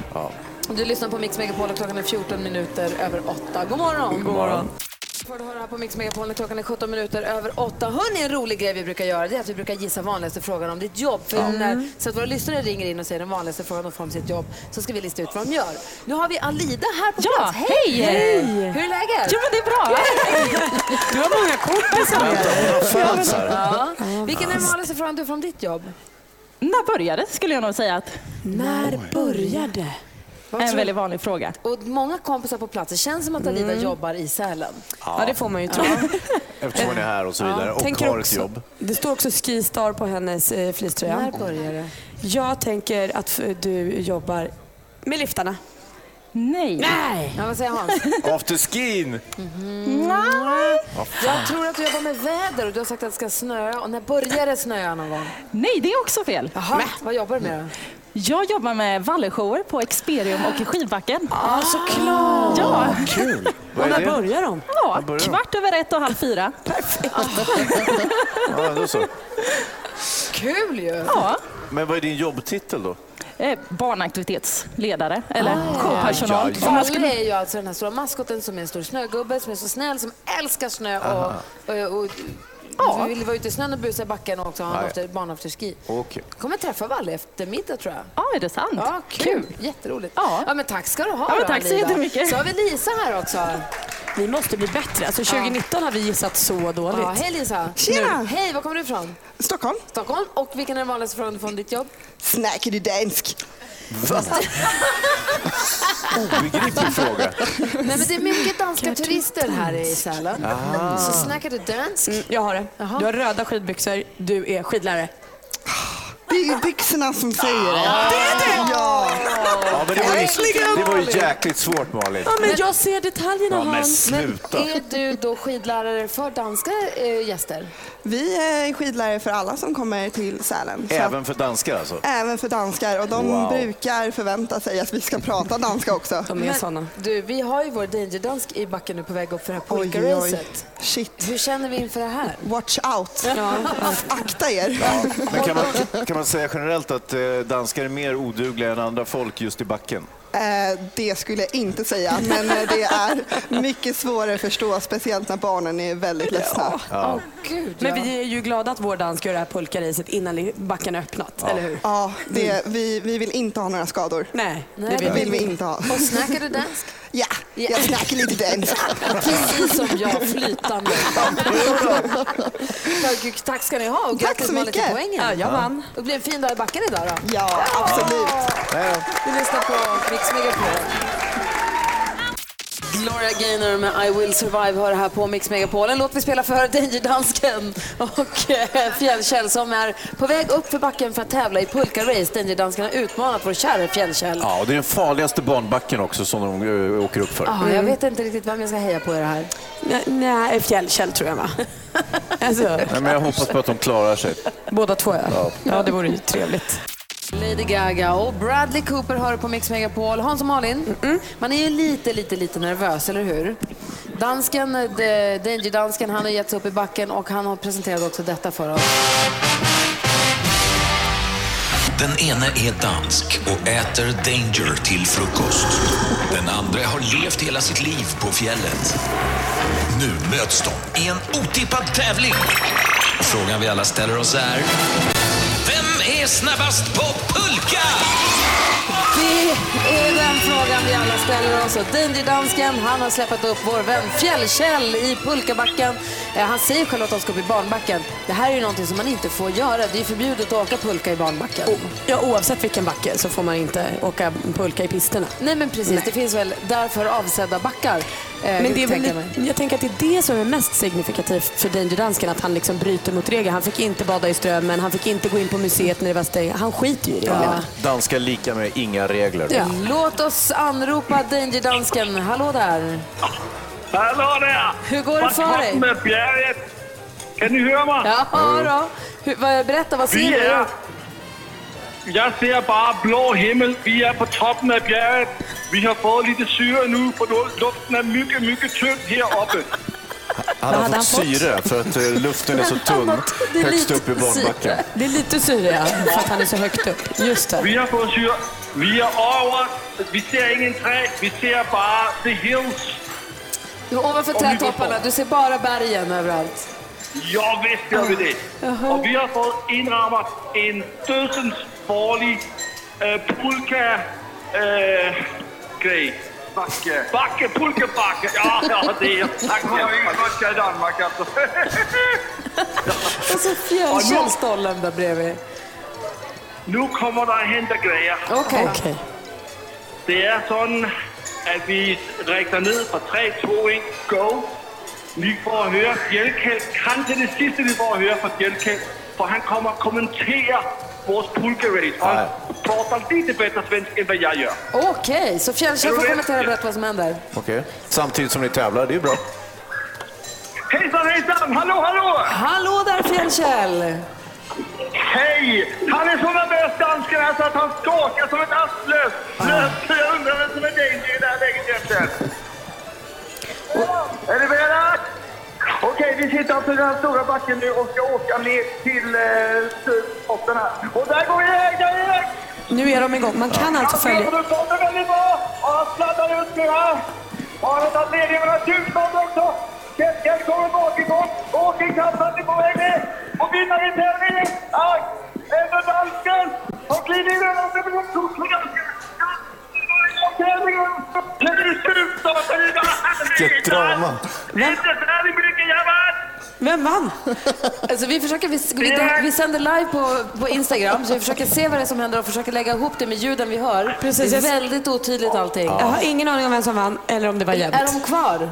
Speaker 5: Du lyssnar på Mix Megapol och klockan är 14 minuter över 8. God morgon!
Speaker 6: God morgon.
Speaker 5: Får du höra här på Mix Megapol när klockan är 17 minuter över 8. Hörni, en rolig grej vi brukar göra det är att vi brukar gissa vanligaste frågan om ditt jobb. För när, så att våra lyssnare ringer in och säger den vanligaste frågan de får om sitt jobb så ska vi lista ut vad de gör. Nu har vi Alida här på
Speaker 9: Ja,
Speaker 5: plats.
Speaker 9: hej!
Speaker 5: Hur är läget?
Speaker 9: Jo, men det är bra.
Speaker 5: Du har många kompisar.
Speaker 9: Vänta, hon har fans här.
Speaker 5: Ja. Vilken är den vanligaste frågan du får om ditt jobb?
Speaker 22: När började skulle jag nog säga att.
Speaker 5: När började?
Speaker 22: En väldigt vanlig fråga.
Speaker 5: Och många kompisar på plats. Det känns som att Alida
Speaker 22: Mm.
Speaker 5: jobbar i Sälen.
Speaker 7: Ja. Ja, det får
Speaker 6: man ju
Speaker 5: tro.
Speaker 7: Eftersom hon är här och så vidare och
Speaker 6: tänker
Speaker 7: har
Speaker 6: också-
Speaker 7: ett jobb.
Speaker 6: Det står också Skistar på hennes eh, fleecetröja.
Speaker 5: När börjar det?
Speaker 6: Jag tänker att f- du jobbar med liftarna.
Speaker 22: Nej.
Speaker 5: Nej. Ja, vad säger Hans? Mm.
Speaker 7: Afterskin! Vad fan.
Speaker 5: Jag tror att du jobbar med väder och du har sagt att det ska snöa. Och när börjar det snöa någon gång?
Speaker 22: Nej, det är också fel.
Speaker 5: Jaha, vad jobbar du med då?
Speaker 22: Jag jobbar med valleshower på Experium och i skidbacken.
Speaker 5: Ah, såklart!
Speaker 22: Ja.
Speaker 7: Kul!
Speaker 6: Och när börjar de?
Speaker 22: Ja, kvart över ett och halv fyra.
Speaker 7: Ja, då så.
Speaker 5: Kul ju!
Speaker 22: Ja.
Speaker 7: Men vad är din jobbtitel då?
Speaker 22: Eh, Barnaktivitetsledare, eller
Speaker 7: Ah.
Speaker 22: showpersonal.
Speaker 5: Valle
Speaker 22: Om jag skulle-
Speaker 5: är ju alltså den här stora maskoten som är en stor snögubbe som är så snäll, som älskar snö och,
Speaker 7: Aha.
Speaker 5: och, och vi vill vara ute i snön och busa i backen och också ha en
Speaker 7: Nej.
Speaker 5: after, barnafterski.
Speaker 7: Okej.
Speaker 5: kommer träffa Valle efter middag tror jag.
Speaker 22: Ja, är det sant?
Speaker 5: Ja, kul. Jätteroligt. Ja. men tack ska du ha.
Speaker 6: Ja, men
Speaker 5: då,
Speaker 6: tack så
Speaker 5: Alida.
Speaker 6: jättemycket.
Speaker 5: Så har vi Lisa här också.
Speaker 6: Vi måste bli bättre. Alltså 2019 har vi gissat så dåligt.
Speaker 5: Ja, hej Lisa.
Speaker 23: Tjena.
Speaker 5: Nu. Hej, var kommer du ifrån?
Speaker 23: Stockholm.
Speaker 5: Stockholm. Och vilken är den vanligaste frågan du får om ditt jobb?
Speaker 23: Snackar du dansk?
Speaker 7: Ah. Obegriplig fråga.
Speaker 5: Nej, men det är mycket danska turister här i Sälen.
Speaker 6: Ah.
Speaker 5: Så snackar du dansk?
Speaker 6: Mm, Jag har det. Du har röda skidbyxor, du är skidlärare.
Speaker 23: Det är byxorna som säger det.
Speaker 6: Det är det!
Speaker 23: Ja.
Speaker 7: Ja, men det, var ju,
Speaker 6: Äntligen!
Speaker 7: det var ju jäkligt svårt Malin.
Speaker 6: Ja, men jag ser detaljerna
Speaker 7: Ja, men
Speaker 6: Hans.
Speaker 7: sluta.
Speaker 5: Är du då skidlärare för danska eh, gäster?
Speaker 23: Vi är skidlärare för alla som kommer till Sälen. Så
Speaker 7: Även för danskar alltså?
Speaker 23: att- även för danskar och de
Speaker 7: Wow.
Speaker 23: brukar förvänta sig att vi ska prata danska också.
Speaker 5: Men, Du, vi har ju vår Danger-dansk i backen nu på väg upp för det här pulkaracet.
Speaker 23: Shit.
Speaker 5: Hur känner vi inför det här?
Speaker 23: Watch out!
Speaker 5: Ja.
Speaker 23: Akta er!
Speaker 7: Men kan, man, kan man säga generellt att eh, danskar är mer odugliga än andra folk just i backen?
Speaker 23: Eh, Det skulle jag inte säga, men eh, det är mycket svårare att förstå, speciellt när barnen är väldigt ledsna.
Speaker 7: Ja.
Speaker 6: Men vi är ju glada att vår dansk gör det här pulkaracet innan li- backen är öppnat, eller hur?
Speaker 23: Ja, det, vi, vi vill inte ha några skador.
Speaker 6: Nej, det
Speaker 23: det
Speaker 6: vill vi
Speaker 23: vill vi inte ha.
Speaker 5: Och snackar du dansk?
Speaker 23: Ja, jag snackar lite dansk.
Speaker 5: Precis som jag, flytande. tack, tack ska ni ha och
Speaker 23: Tack
Speaker 5: grattis
Speaker 23: så
Speaker 5: Malin till
Speaker 23: mycket.
Speaker 5: poängen.
Speaker 23: Ja, jag vann.
Speaker 5: Det blir en fin dag i backen idag då. Ah.
Speaker 23: Ja, absolut.
Speaker 5: Vi lyssnar på Mix Megapol. Gloria Gaynor med I will survive hör här på Mix Megapol. En låt vi spelar för Danger-dansken och eh, Fjällkäll som är på väg upp för backen för att tävla i pulka-race. Danger-dansken har utmanat vår kära Fjällkäll.
Speaker 17: Ja, och det är den farligaste banbacken också som de eh, åker upp för.
Speaker 5: Ah, jag vet inte riktigt vem jag ska heja på i det här.
Speaker 18: Nej, Fjällkäll tror jag va? alltså,
Speaker 17: Nej, men jag hoppas på att de klarar sig.
Speaker 18: båda två
Speaker 17: Ja.
Speaker 18: Ja, det vore ju trevligt.
Speaker 5: Lady Gaga och Bradley Cooper hör på Mix Megapol. Hans och Malin, man är ju lite, lite, lite nervös, eller hur? Dansken, de- Danger-dansken, han har gett sig upp i backen och han har presenterat också detta för oss.
Speaker 9: Den ene är dansk och äter Danger till frukost. Den andra har levt hela sitt liv på fjället. Nu möts de i en otippad tävling. Frågan vi alla ställer oss är... Vem är snabbast på pulka?
Speaker 5: Det är den frågan vi alla ställer oss. Och Danger-dansken, han har släpat upp vår vän Fjällkäll i pulkabacken. Eh, Han säger själv att de ska upp i barnbacken. Det här är ju någonting som man inte får göra. Det är förbjudet att åka pulka i barnbacken.
Speaker 18: Ja, oavsett vilken backe så får man inte åka pulka i pisterna.
Speaker 5: Nej men precis, det finns väl därför avsedda backar. eh,
Speaker 18: Men det är väl,
Speaker 5: tänker jag mig.
Speaker 18: lite- jag tänker att det är det som är mest signifikativt för Danger-dansken, att han liksom bryter mot regler. Han fick inte bada i strömmen, han fick inte gå in på museet när det var stängt. Han skiter ju i reglerna.
Speaker 7: Danska lika med inga regler.
Speaker 5: Låt oss anropa Danger-dansken. Hallå där!
Speaker 15: Hallå där!
Speaker 5: Hur går det för dig?
Speaker 15: med bjerget. Kan ni høre mig?
Speaker 5: Ja, då. Hur, vad, berätta, vad
Speaker 15: Vi
Speaker 5: ser du?
Speaker 15: er... Jeg ser bare blå himmel. Vi er på toppen af bjerget. Vi har fået lidt syre nu, for nu- luften er mygge, mygge tynd heroppe.
Speaker 7: Han
Speaker 18: Vad
Speaker 7: har
Speaker 18: hade
Speaker 7: fått
Speaker 18: han fått?
Speaker 7: syre för att eh, luften är så tunn högst upp i barnbacken.
Speaker 18: Det är lite syre, ja, för att han är så högt upp. Just det.
Speaker 15: Vi har fået syre. Vi er over. Vi ser ingen træ. Vi ser bare the hills.
Speaker 5: Du är ovanför
Speaker 15: Om vi går
Speaker 5: trädtopparna,
Speaker 15: på.
Speaker 5: du ser bara bergen överallt.
Speaker 15: Ja, vidst gør vi det. Og vi har fået indrammet en dødsens forlig øh, pulka... Øh, grej. Bakke. Bakke, pulka, bakke. Ja, ja, det er. Tak. Nu har vi ikke godt kaldt Danmark, alltså. altså.
Speaker 5: Och så fjällkällstollen där bredvid.
Speaker 15: Nu kommer der hen, der græder.
Speaker 5: Okej.
Speaker 15: Det er sådan, at vi rækker ned fra 3, 2, 1, go. Vi får at høre Fjeldkæld. Kan til det sidste, vi får at høre fra Fjeldkæld. For han kommer og kommenterer vores pulkerace. Og han prater lidt bedre svensk, end hvad jeg gør.
Speaker 5: Okej, så Fjällkäll får kommentera och berätta vad som händer.
Speaker 7: Okej. Samtidigt som ni tävlar, det är bra.
Speaker 15: Hejsan, hejsan! Hallå, hallå!
Speaker 5: Hallå där Fjällkäll!
Speaker 15: Hej! Han är så nervös, dansken, här, så att han skakar som ett asplöv.
Speaker 5: Ah.
Speaker 15: Så Jag undrar vem som är danger i det här läget egentligen. Är ni beredda? Okej, vi sitter alltså i den här stora backen nu och ska åka ner till eh, toppen här. Och där går vi iväg, där är vi iväg!
Speaker 18: Nu är de igång. Man kan alltså följa...
Speaker 15: Han kommer väldigt bra! Och han sladdar ut nu här. Och han har tagit ledningen med några tusentals också. Kjellkjell kommer bakifrån. Åker ikapp, han är på väg ner. Och vinnare i tävlingen är Ebbe Dansken. Och glider in över det blir en kurs för dansken. Tävlingen! Det är slut av att han är
Speaker 7: Vilket drama.
Speaker 5: Vem vann? Alltså, vi, försöker, vi, vi, vi sänder live på, på Instagram, så vi försöker se vad det är som händer och försöker lägga ihop det med ljuden vi hör.
Speaker 18: Precis,
Speaker 5: det är
Speaker 18: jag-
Speaker 5: väldigt otydligt allting.
Speaker 18: Jag har ingen aning om vem som vann eller om det var jämnt.
Speaker 5: Är de kvar?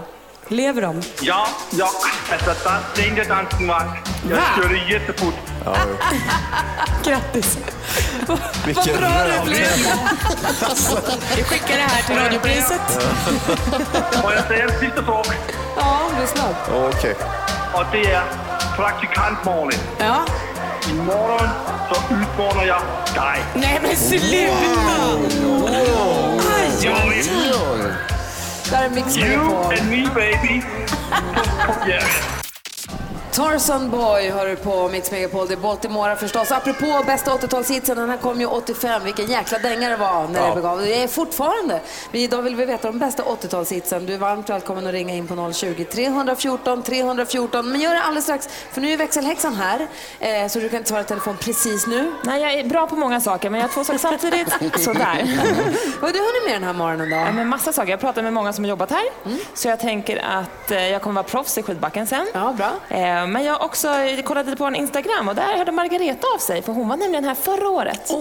Speaker 18: Lever de?
Speaker 15: Ja, ja. Alltså, dans- danger-dansen vann. Jag körde jättefort.
Speaker 18: Grattis!
Speaker 15: Vilken röv.
Speaker 24: Alltså.
Speaker 18: Vi skickar det här till radiopriset.
Speaker 15: Må jag säga en sista sak?
Speaker 5: Ja, lyssna.
Speaker 7: Okej.
Speaker 15: Och det är praktikantmorgon.
Speaker 18: Ja.
Speaker 15: Imorgon så utmanar jag dig.
Speaker 18: Nej men sluta!
Speaker 15: Aj, aj, aj.
Speaker 5: Där är Mix
Speaker 15: You
Speaker 5: Megapol.
Speaker 15: and me baby. Yeah.
Speaker 5: Tarzan Boy hör du på Mix Megapol. Det är Baltimora förstås. Apropå bästa 80-talshitsen, den här kom ju 85. Vilken jäkla dänga det var när det
Speaker 18: Ja.
Speaker 5: begav Det är fortfarande. Vi, idag vill vi veta de bästa 80-talshitsen. Du är varmt välkommen att ringa in på 020-314 314. Men gör det alldeles strax, för nu är växelhäxan här. Eh, så du kan inte svara i telefon precis nu.
Speaker 19: Nej, jag är bra på många saker, men jag har två saker samtidigt. Sådär.
Speaker 5: Vad har du hunnit med den här morgonen då? Mm.
Speaker 19: Ja, men massa saker. Jag pratar med många som har jobbat här. Så jag tänker att eh, jag kommer vara proffs i skidbacken sen.
Speaker 5: Ja, bra.
Speaker 19: Eh, Men jag har också kollat lite på en Instagram och där hörde Margareta av sig för hon var nämligen här förra året.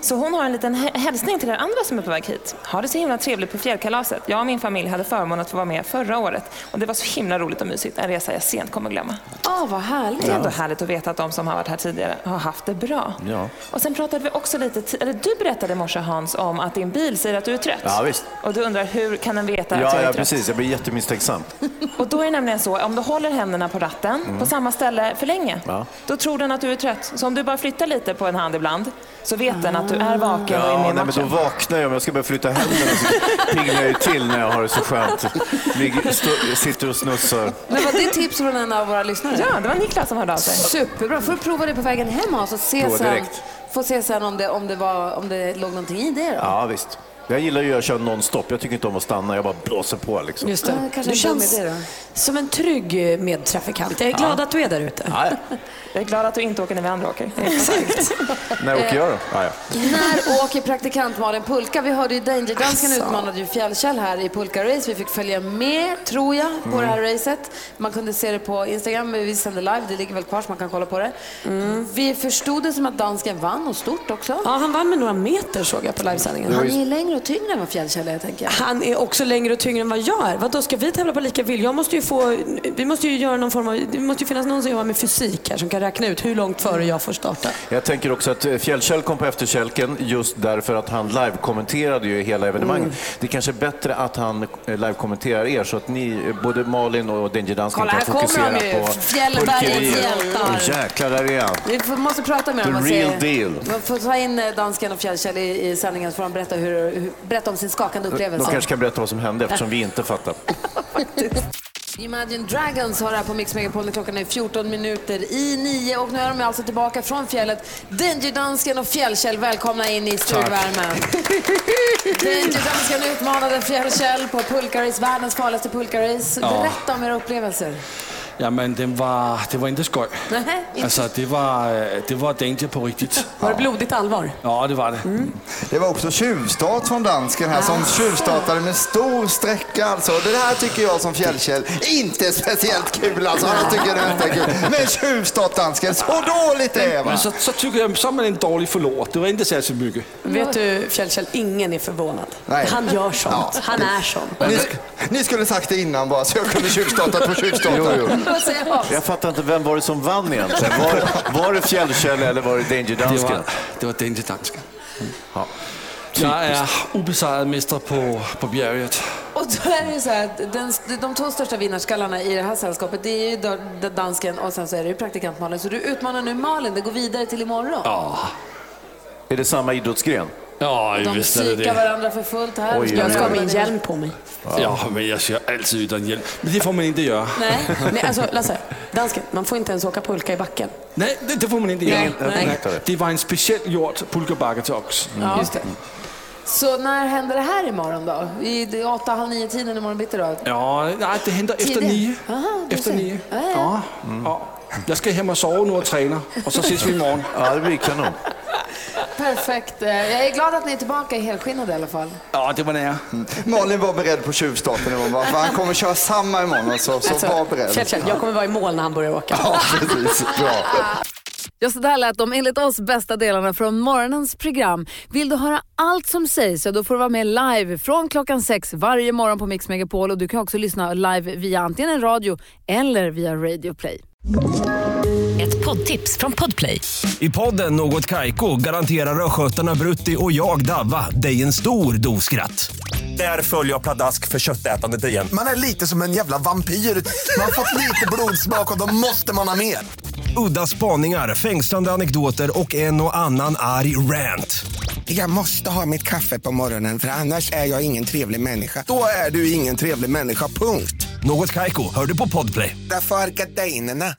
Speaker 19: Så hon har en liten hä- hälsning till er andra som är på väg hit. Ha det så himla trevligt på fjällkalaset. Jag och min familj hade förmånen att få vara med förra året och det var så himla roligt och mysigt. En resa jag sent kommer glömma.
Speaker 5: Ah,
Speaker 6: Åh, vad härligt.
Speaker 19: Det är ändå härligt att veta att de som har varit här tidigare har haft det bra.
Speaker 17: Ja.
Speaker 19: Och sen pratade vi också lite, ti- eller du berättade i morse Hans om att din bil säger att du är trött.
Speaker 17: Ja, visst.
Speaker 19: Och du undrar hur kan den veta att jag
Speaker 7: Ja,
Speaker 19: är
Speaker 7: ja,
Speaker 19: trött?
Speaker 7: precis. Jag blir jättemisstänksam.
Speaker 19: Och då är det nämligen så, om du håller händerna på ratten
Speaker 7: Mm.
Speaker 19: på samma ställe för länge,
Speaker 7: Ja.
Speaker 19: då tror den att du är trött. Så om du bara flyttar lite på en hand ibland, så vet den att du är vaken och är med
Speaker 7: Ja,
Speaker 19: i
Speaker 7: nej, men då
Speaker 19: matchen.
Speaker 7: vaknar jag. Om jag ska börja flytta händerna så piggnar jag ju till när jag har det så skönt. Ligger, stå, sitter och snussar.
Speaker 5: Men var det tips från en av våra lyssnare?
Speaker 19: Ja, det var Niklas som hörde av sig.
Speaker 5: Superbra. får du prova det på vägen hem och så se
Speaker 7: Prova
Speaker 5: sen,
Speaker 7: direkt.
Speaker 5: få se sen om det, om, det var, om det låg någonting i det. Då.
Speaker 7: Ja, visst. Jag gillar ju att köra nonstop. Jag tycker inte om att stanna. Jag bara blåser på liksom.
Speaker 6: Just det.
Speaker 5: kanske en
Speaker 6: du
Speaker 5: dum
Speaker 6: känns
Speaker 5: idé då.
Speaker 6: som en trygg eh, medtrafikant. Jag är
Speaker 19: Ja.
Speaker 6: glad att du är där ute.
Speaker 19: Jag är glad att du inte åker när vi andra åker.
Speaker 7: När åker jag då? Ah, ja.
Speaker 5: När Eh, åker praktikant Malin Pulka? Vi hörde ju Dangerdansken
Speaker 19: Alltså.
Speaker 5: utmanade ju Fjällkäll här i Pulka-race. Vi fick följa med, tror jag, på
Speaker 19: Mm.
Speaker 5: det här racet. Man kunde se det på Instagram, men vi sände live. Det ligger väl kvar så man kan kolla på det.
Speaker 19: Mm.
Speaker 5: Vi förstod det som att dansken vann, och stort också.
Speaker 6: Ja, han vann med några meter såg jag på livesändningen.
Speaker 5: Han är ju längre och tyngre än vad Fjällkäll är, tänker jag.
Speaker 6: Han är också längre och tyngre än vad jag är. Vadå, ska vi tävla på lika vill? Jag måste ju få, vi måste ju göra någon form av, det måste ju finnas någon som jobbar med fysik här som kan räkna ut hur långt före jag får starta.
Speaker 7: Jag tänker också att eh, Fjällkäll kom på efterkälken just därför att han live-kommenterade ju hela evenemanget.
Speaker 6: Mm.
Speaker 7: Det är kanske är bättre att han eh, live-kommenterar er så att ni, eh, både Malin och Danger Dansken
Speaker 5: Kolla,
Speaker 7: kan
Speaker 5: här kommer
Speaker 7: fokusera
Speaker 5: de
Speaker 7: på
Speaker 5: ju. Fjällbergens
Speaker 7: pulkeriet.
Speaker 5: hjältar.
Speaker 7: Åh, jäklar, där är han.
Speaker 5: Vi får, måste prata med
Speaker 7: The
Speaker 5: honom. och
Speaker 7: real
Speaker 5: se-
Speaker 7: deal.
Speaker 5: Man får ta in eh, dansken och Fjällkäll i, i sändningen så får de berätta, hur, hur, berätta om sin skakande
Speaker 7: De
Speaker 5: upplevelse.
Speaker 7: kanske kan berätta vad som hände eftersom vi inte fattar.
Speaker 5: Imagine Dragons har det här på Mix Megapol när klockan är 14 minuter i 9 och nu är de alltså tillbaka från fjället. Dangerdansken och Fjällkäll välkomna in i stugvärmen. Dangerdansken utmanade Fjällkäll på Pulkarace, världens farligaste Pulkarace.
Speaker 12: Ja.
Speaker 5: Berätta om era upplevelser.
Speaker 12: Jamen, den var, det var inte skoj.
Speaker 5: Nej, inte.
Speaker 7: Alltså,
Speaker 12: Altså, det var, øh, det var danger på riktigt.
Speaker 6: Var det blodigt allvar?
Speaker 12: Ja, det var det.
Speaker 21: Det var också tjuvstart från dansken här som tjuvstartade med stor sträcka alltså. Det här tycker jag som fjällkäll inte är speciellt kul alltså. Jag tycker det inte är kul. Men tjuvstart dansken, så dåligt det är va?
Speaker 12: Men så, så tycker jag, så er man en dålig förlorare. Det var inte särskilt mycket.
Speaker 6: Vet du Fjällkäll, ingen är förvånad.
Speaker 12: Nej.
Speaker 6: Han gör sånt.
Speaker 12: Ja.
Speaker 6: Han är sån.
Speaker 21: Ni, sk- ni skulle sagt det innan bara så jag kunde tjuvstartat på
Speaker 7: Jo,
Speaker 21: tjuvstartat.
Speaker 7: jo. Jag fattar inte, vem var det som vann egentligen? Var, var det Fjällkäll eller var det Danger
Speaker 12: Det
Speaker 7: Dansken?
Speaker 12: var, det var danger dansken.
Speaker 7: Ja.
Speaker 12: Jag är ubesejret mästare på, på bjerget.
Speaker 5: Och då är det ju så här att den, de två största vinnarskallarna i det här sällskapet det är ju då- då dansken och sen så är det ju praktikant Malin. Så du utmanar nu Malin, det går vidare till imorgon.
Speaker 12: Ja.
Speaker 7: Är det samma idrottsgren?
Speaker 12: Ja,
Speaker 5: De
Speaker 12: visst är det
Speaker 5: psykar
Speaker 12: det.
Speaker 5: varandra för fullt här.
Speaker 12: Oj, oj, oj. Jag ska ha min
Speaker 6: hjälm på mig.
Speaker 12: Ja, men jag kör alltid utan hjälp. Men det får man inte göra.
Speaker 6: Nej. Nej, alltså Lasse, dansken, man får inte ens åka pulka i backen.
Speaker 12: Nej, det, det får man inte
Speaker 6: Nej,
Speaker 12: göra.
Speaker 6: nej.
Speaker 12: Det var en speciellt gjord pulkabakke till ox. Mm.
Speaker 5: Ja. Just det. Så när händer det här imorgon då? I det är åtta, halv nio tiden imorgon bitti då?
Speaker 12: Ja, nej, det händer efter
Speaker 5: Tidigt.
Speaker 12: nio.
Speaker 5: Aha, du
Speaker 12: Efter
Speaker 5: ser.
Speaker 12: nio.
Speaker 5: Ja, ja.
Speaker 12: Ja.
Speaker 7: Mm.
Speaker 12: ja. Jag ska hem och sova nu och träna och så ses vi imorgon.
Speaker 7: Ja, det blir kanon.
Speaker 5: Perfekt. Eh, Jag är glad att ni är tillbaka i helskinnade i alla fall.
Speaker 12: Ja, det var nära.
Speaker 21: Mm. Malin var beredd på tjuvstarten imorgon va? För han kommer köra samma imorgon alltså. Så var beredd.
Speaker 6: Fjällkäll, jag kommer vara i mål när han börjar åka.
Speaker 21: Ja, precis. Bra.
Speaker 5: Ja, så där lät de enligt oss bästa delarna från morgonens program. Vill du höra allt som sägs, ja, då får du vara med live från klockan sex varje morgon på Mix Megapol. Och du kan också lyssna live via antingen en radio eller via Radio Play.
Speaker 2: Ett poddtips från Podplay.
Speaker 25: I podden Något Kaiko garanterar östgötarna Brutti och jag, Davva, dig en stor dos skratt. Där följer jag pladask för köttätandet igen.
Speaker 24: Man är lite som en jävla vampyr. Man har fått lite blodsmak och då måste man ha mer.
Speaker 25: Udda spaningar, fängslande anekdoter och en och annan arg rant.
Speaker 24: Jag måste ha mitt kaffe på morgonen för annars är jag ingen trevlig människa. Då är du ingen trevlig människa, punkt.
Speaker 25: Något Kaiko, hör du på Podplay.
Speaker 24: Därför arkadeinerna.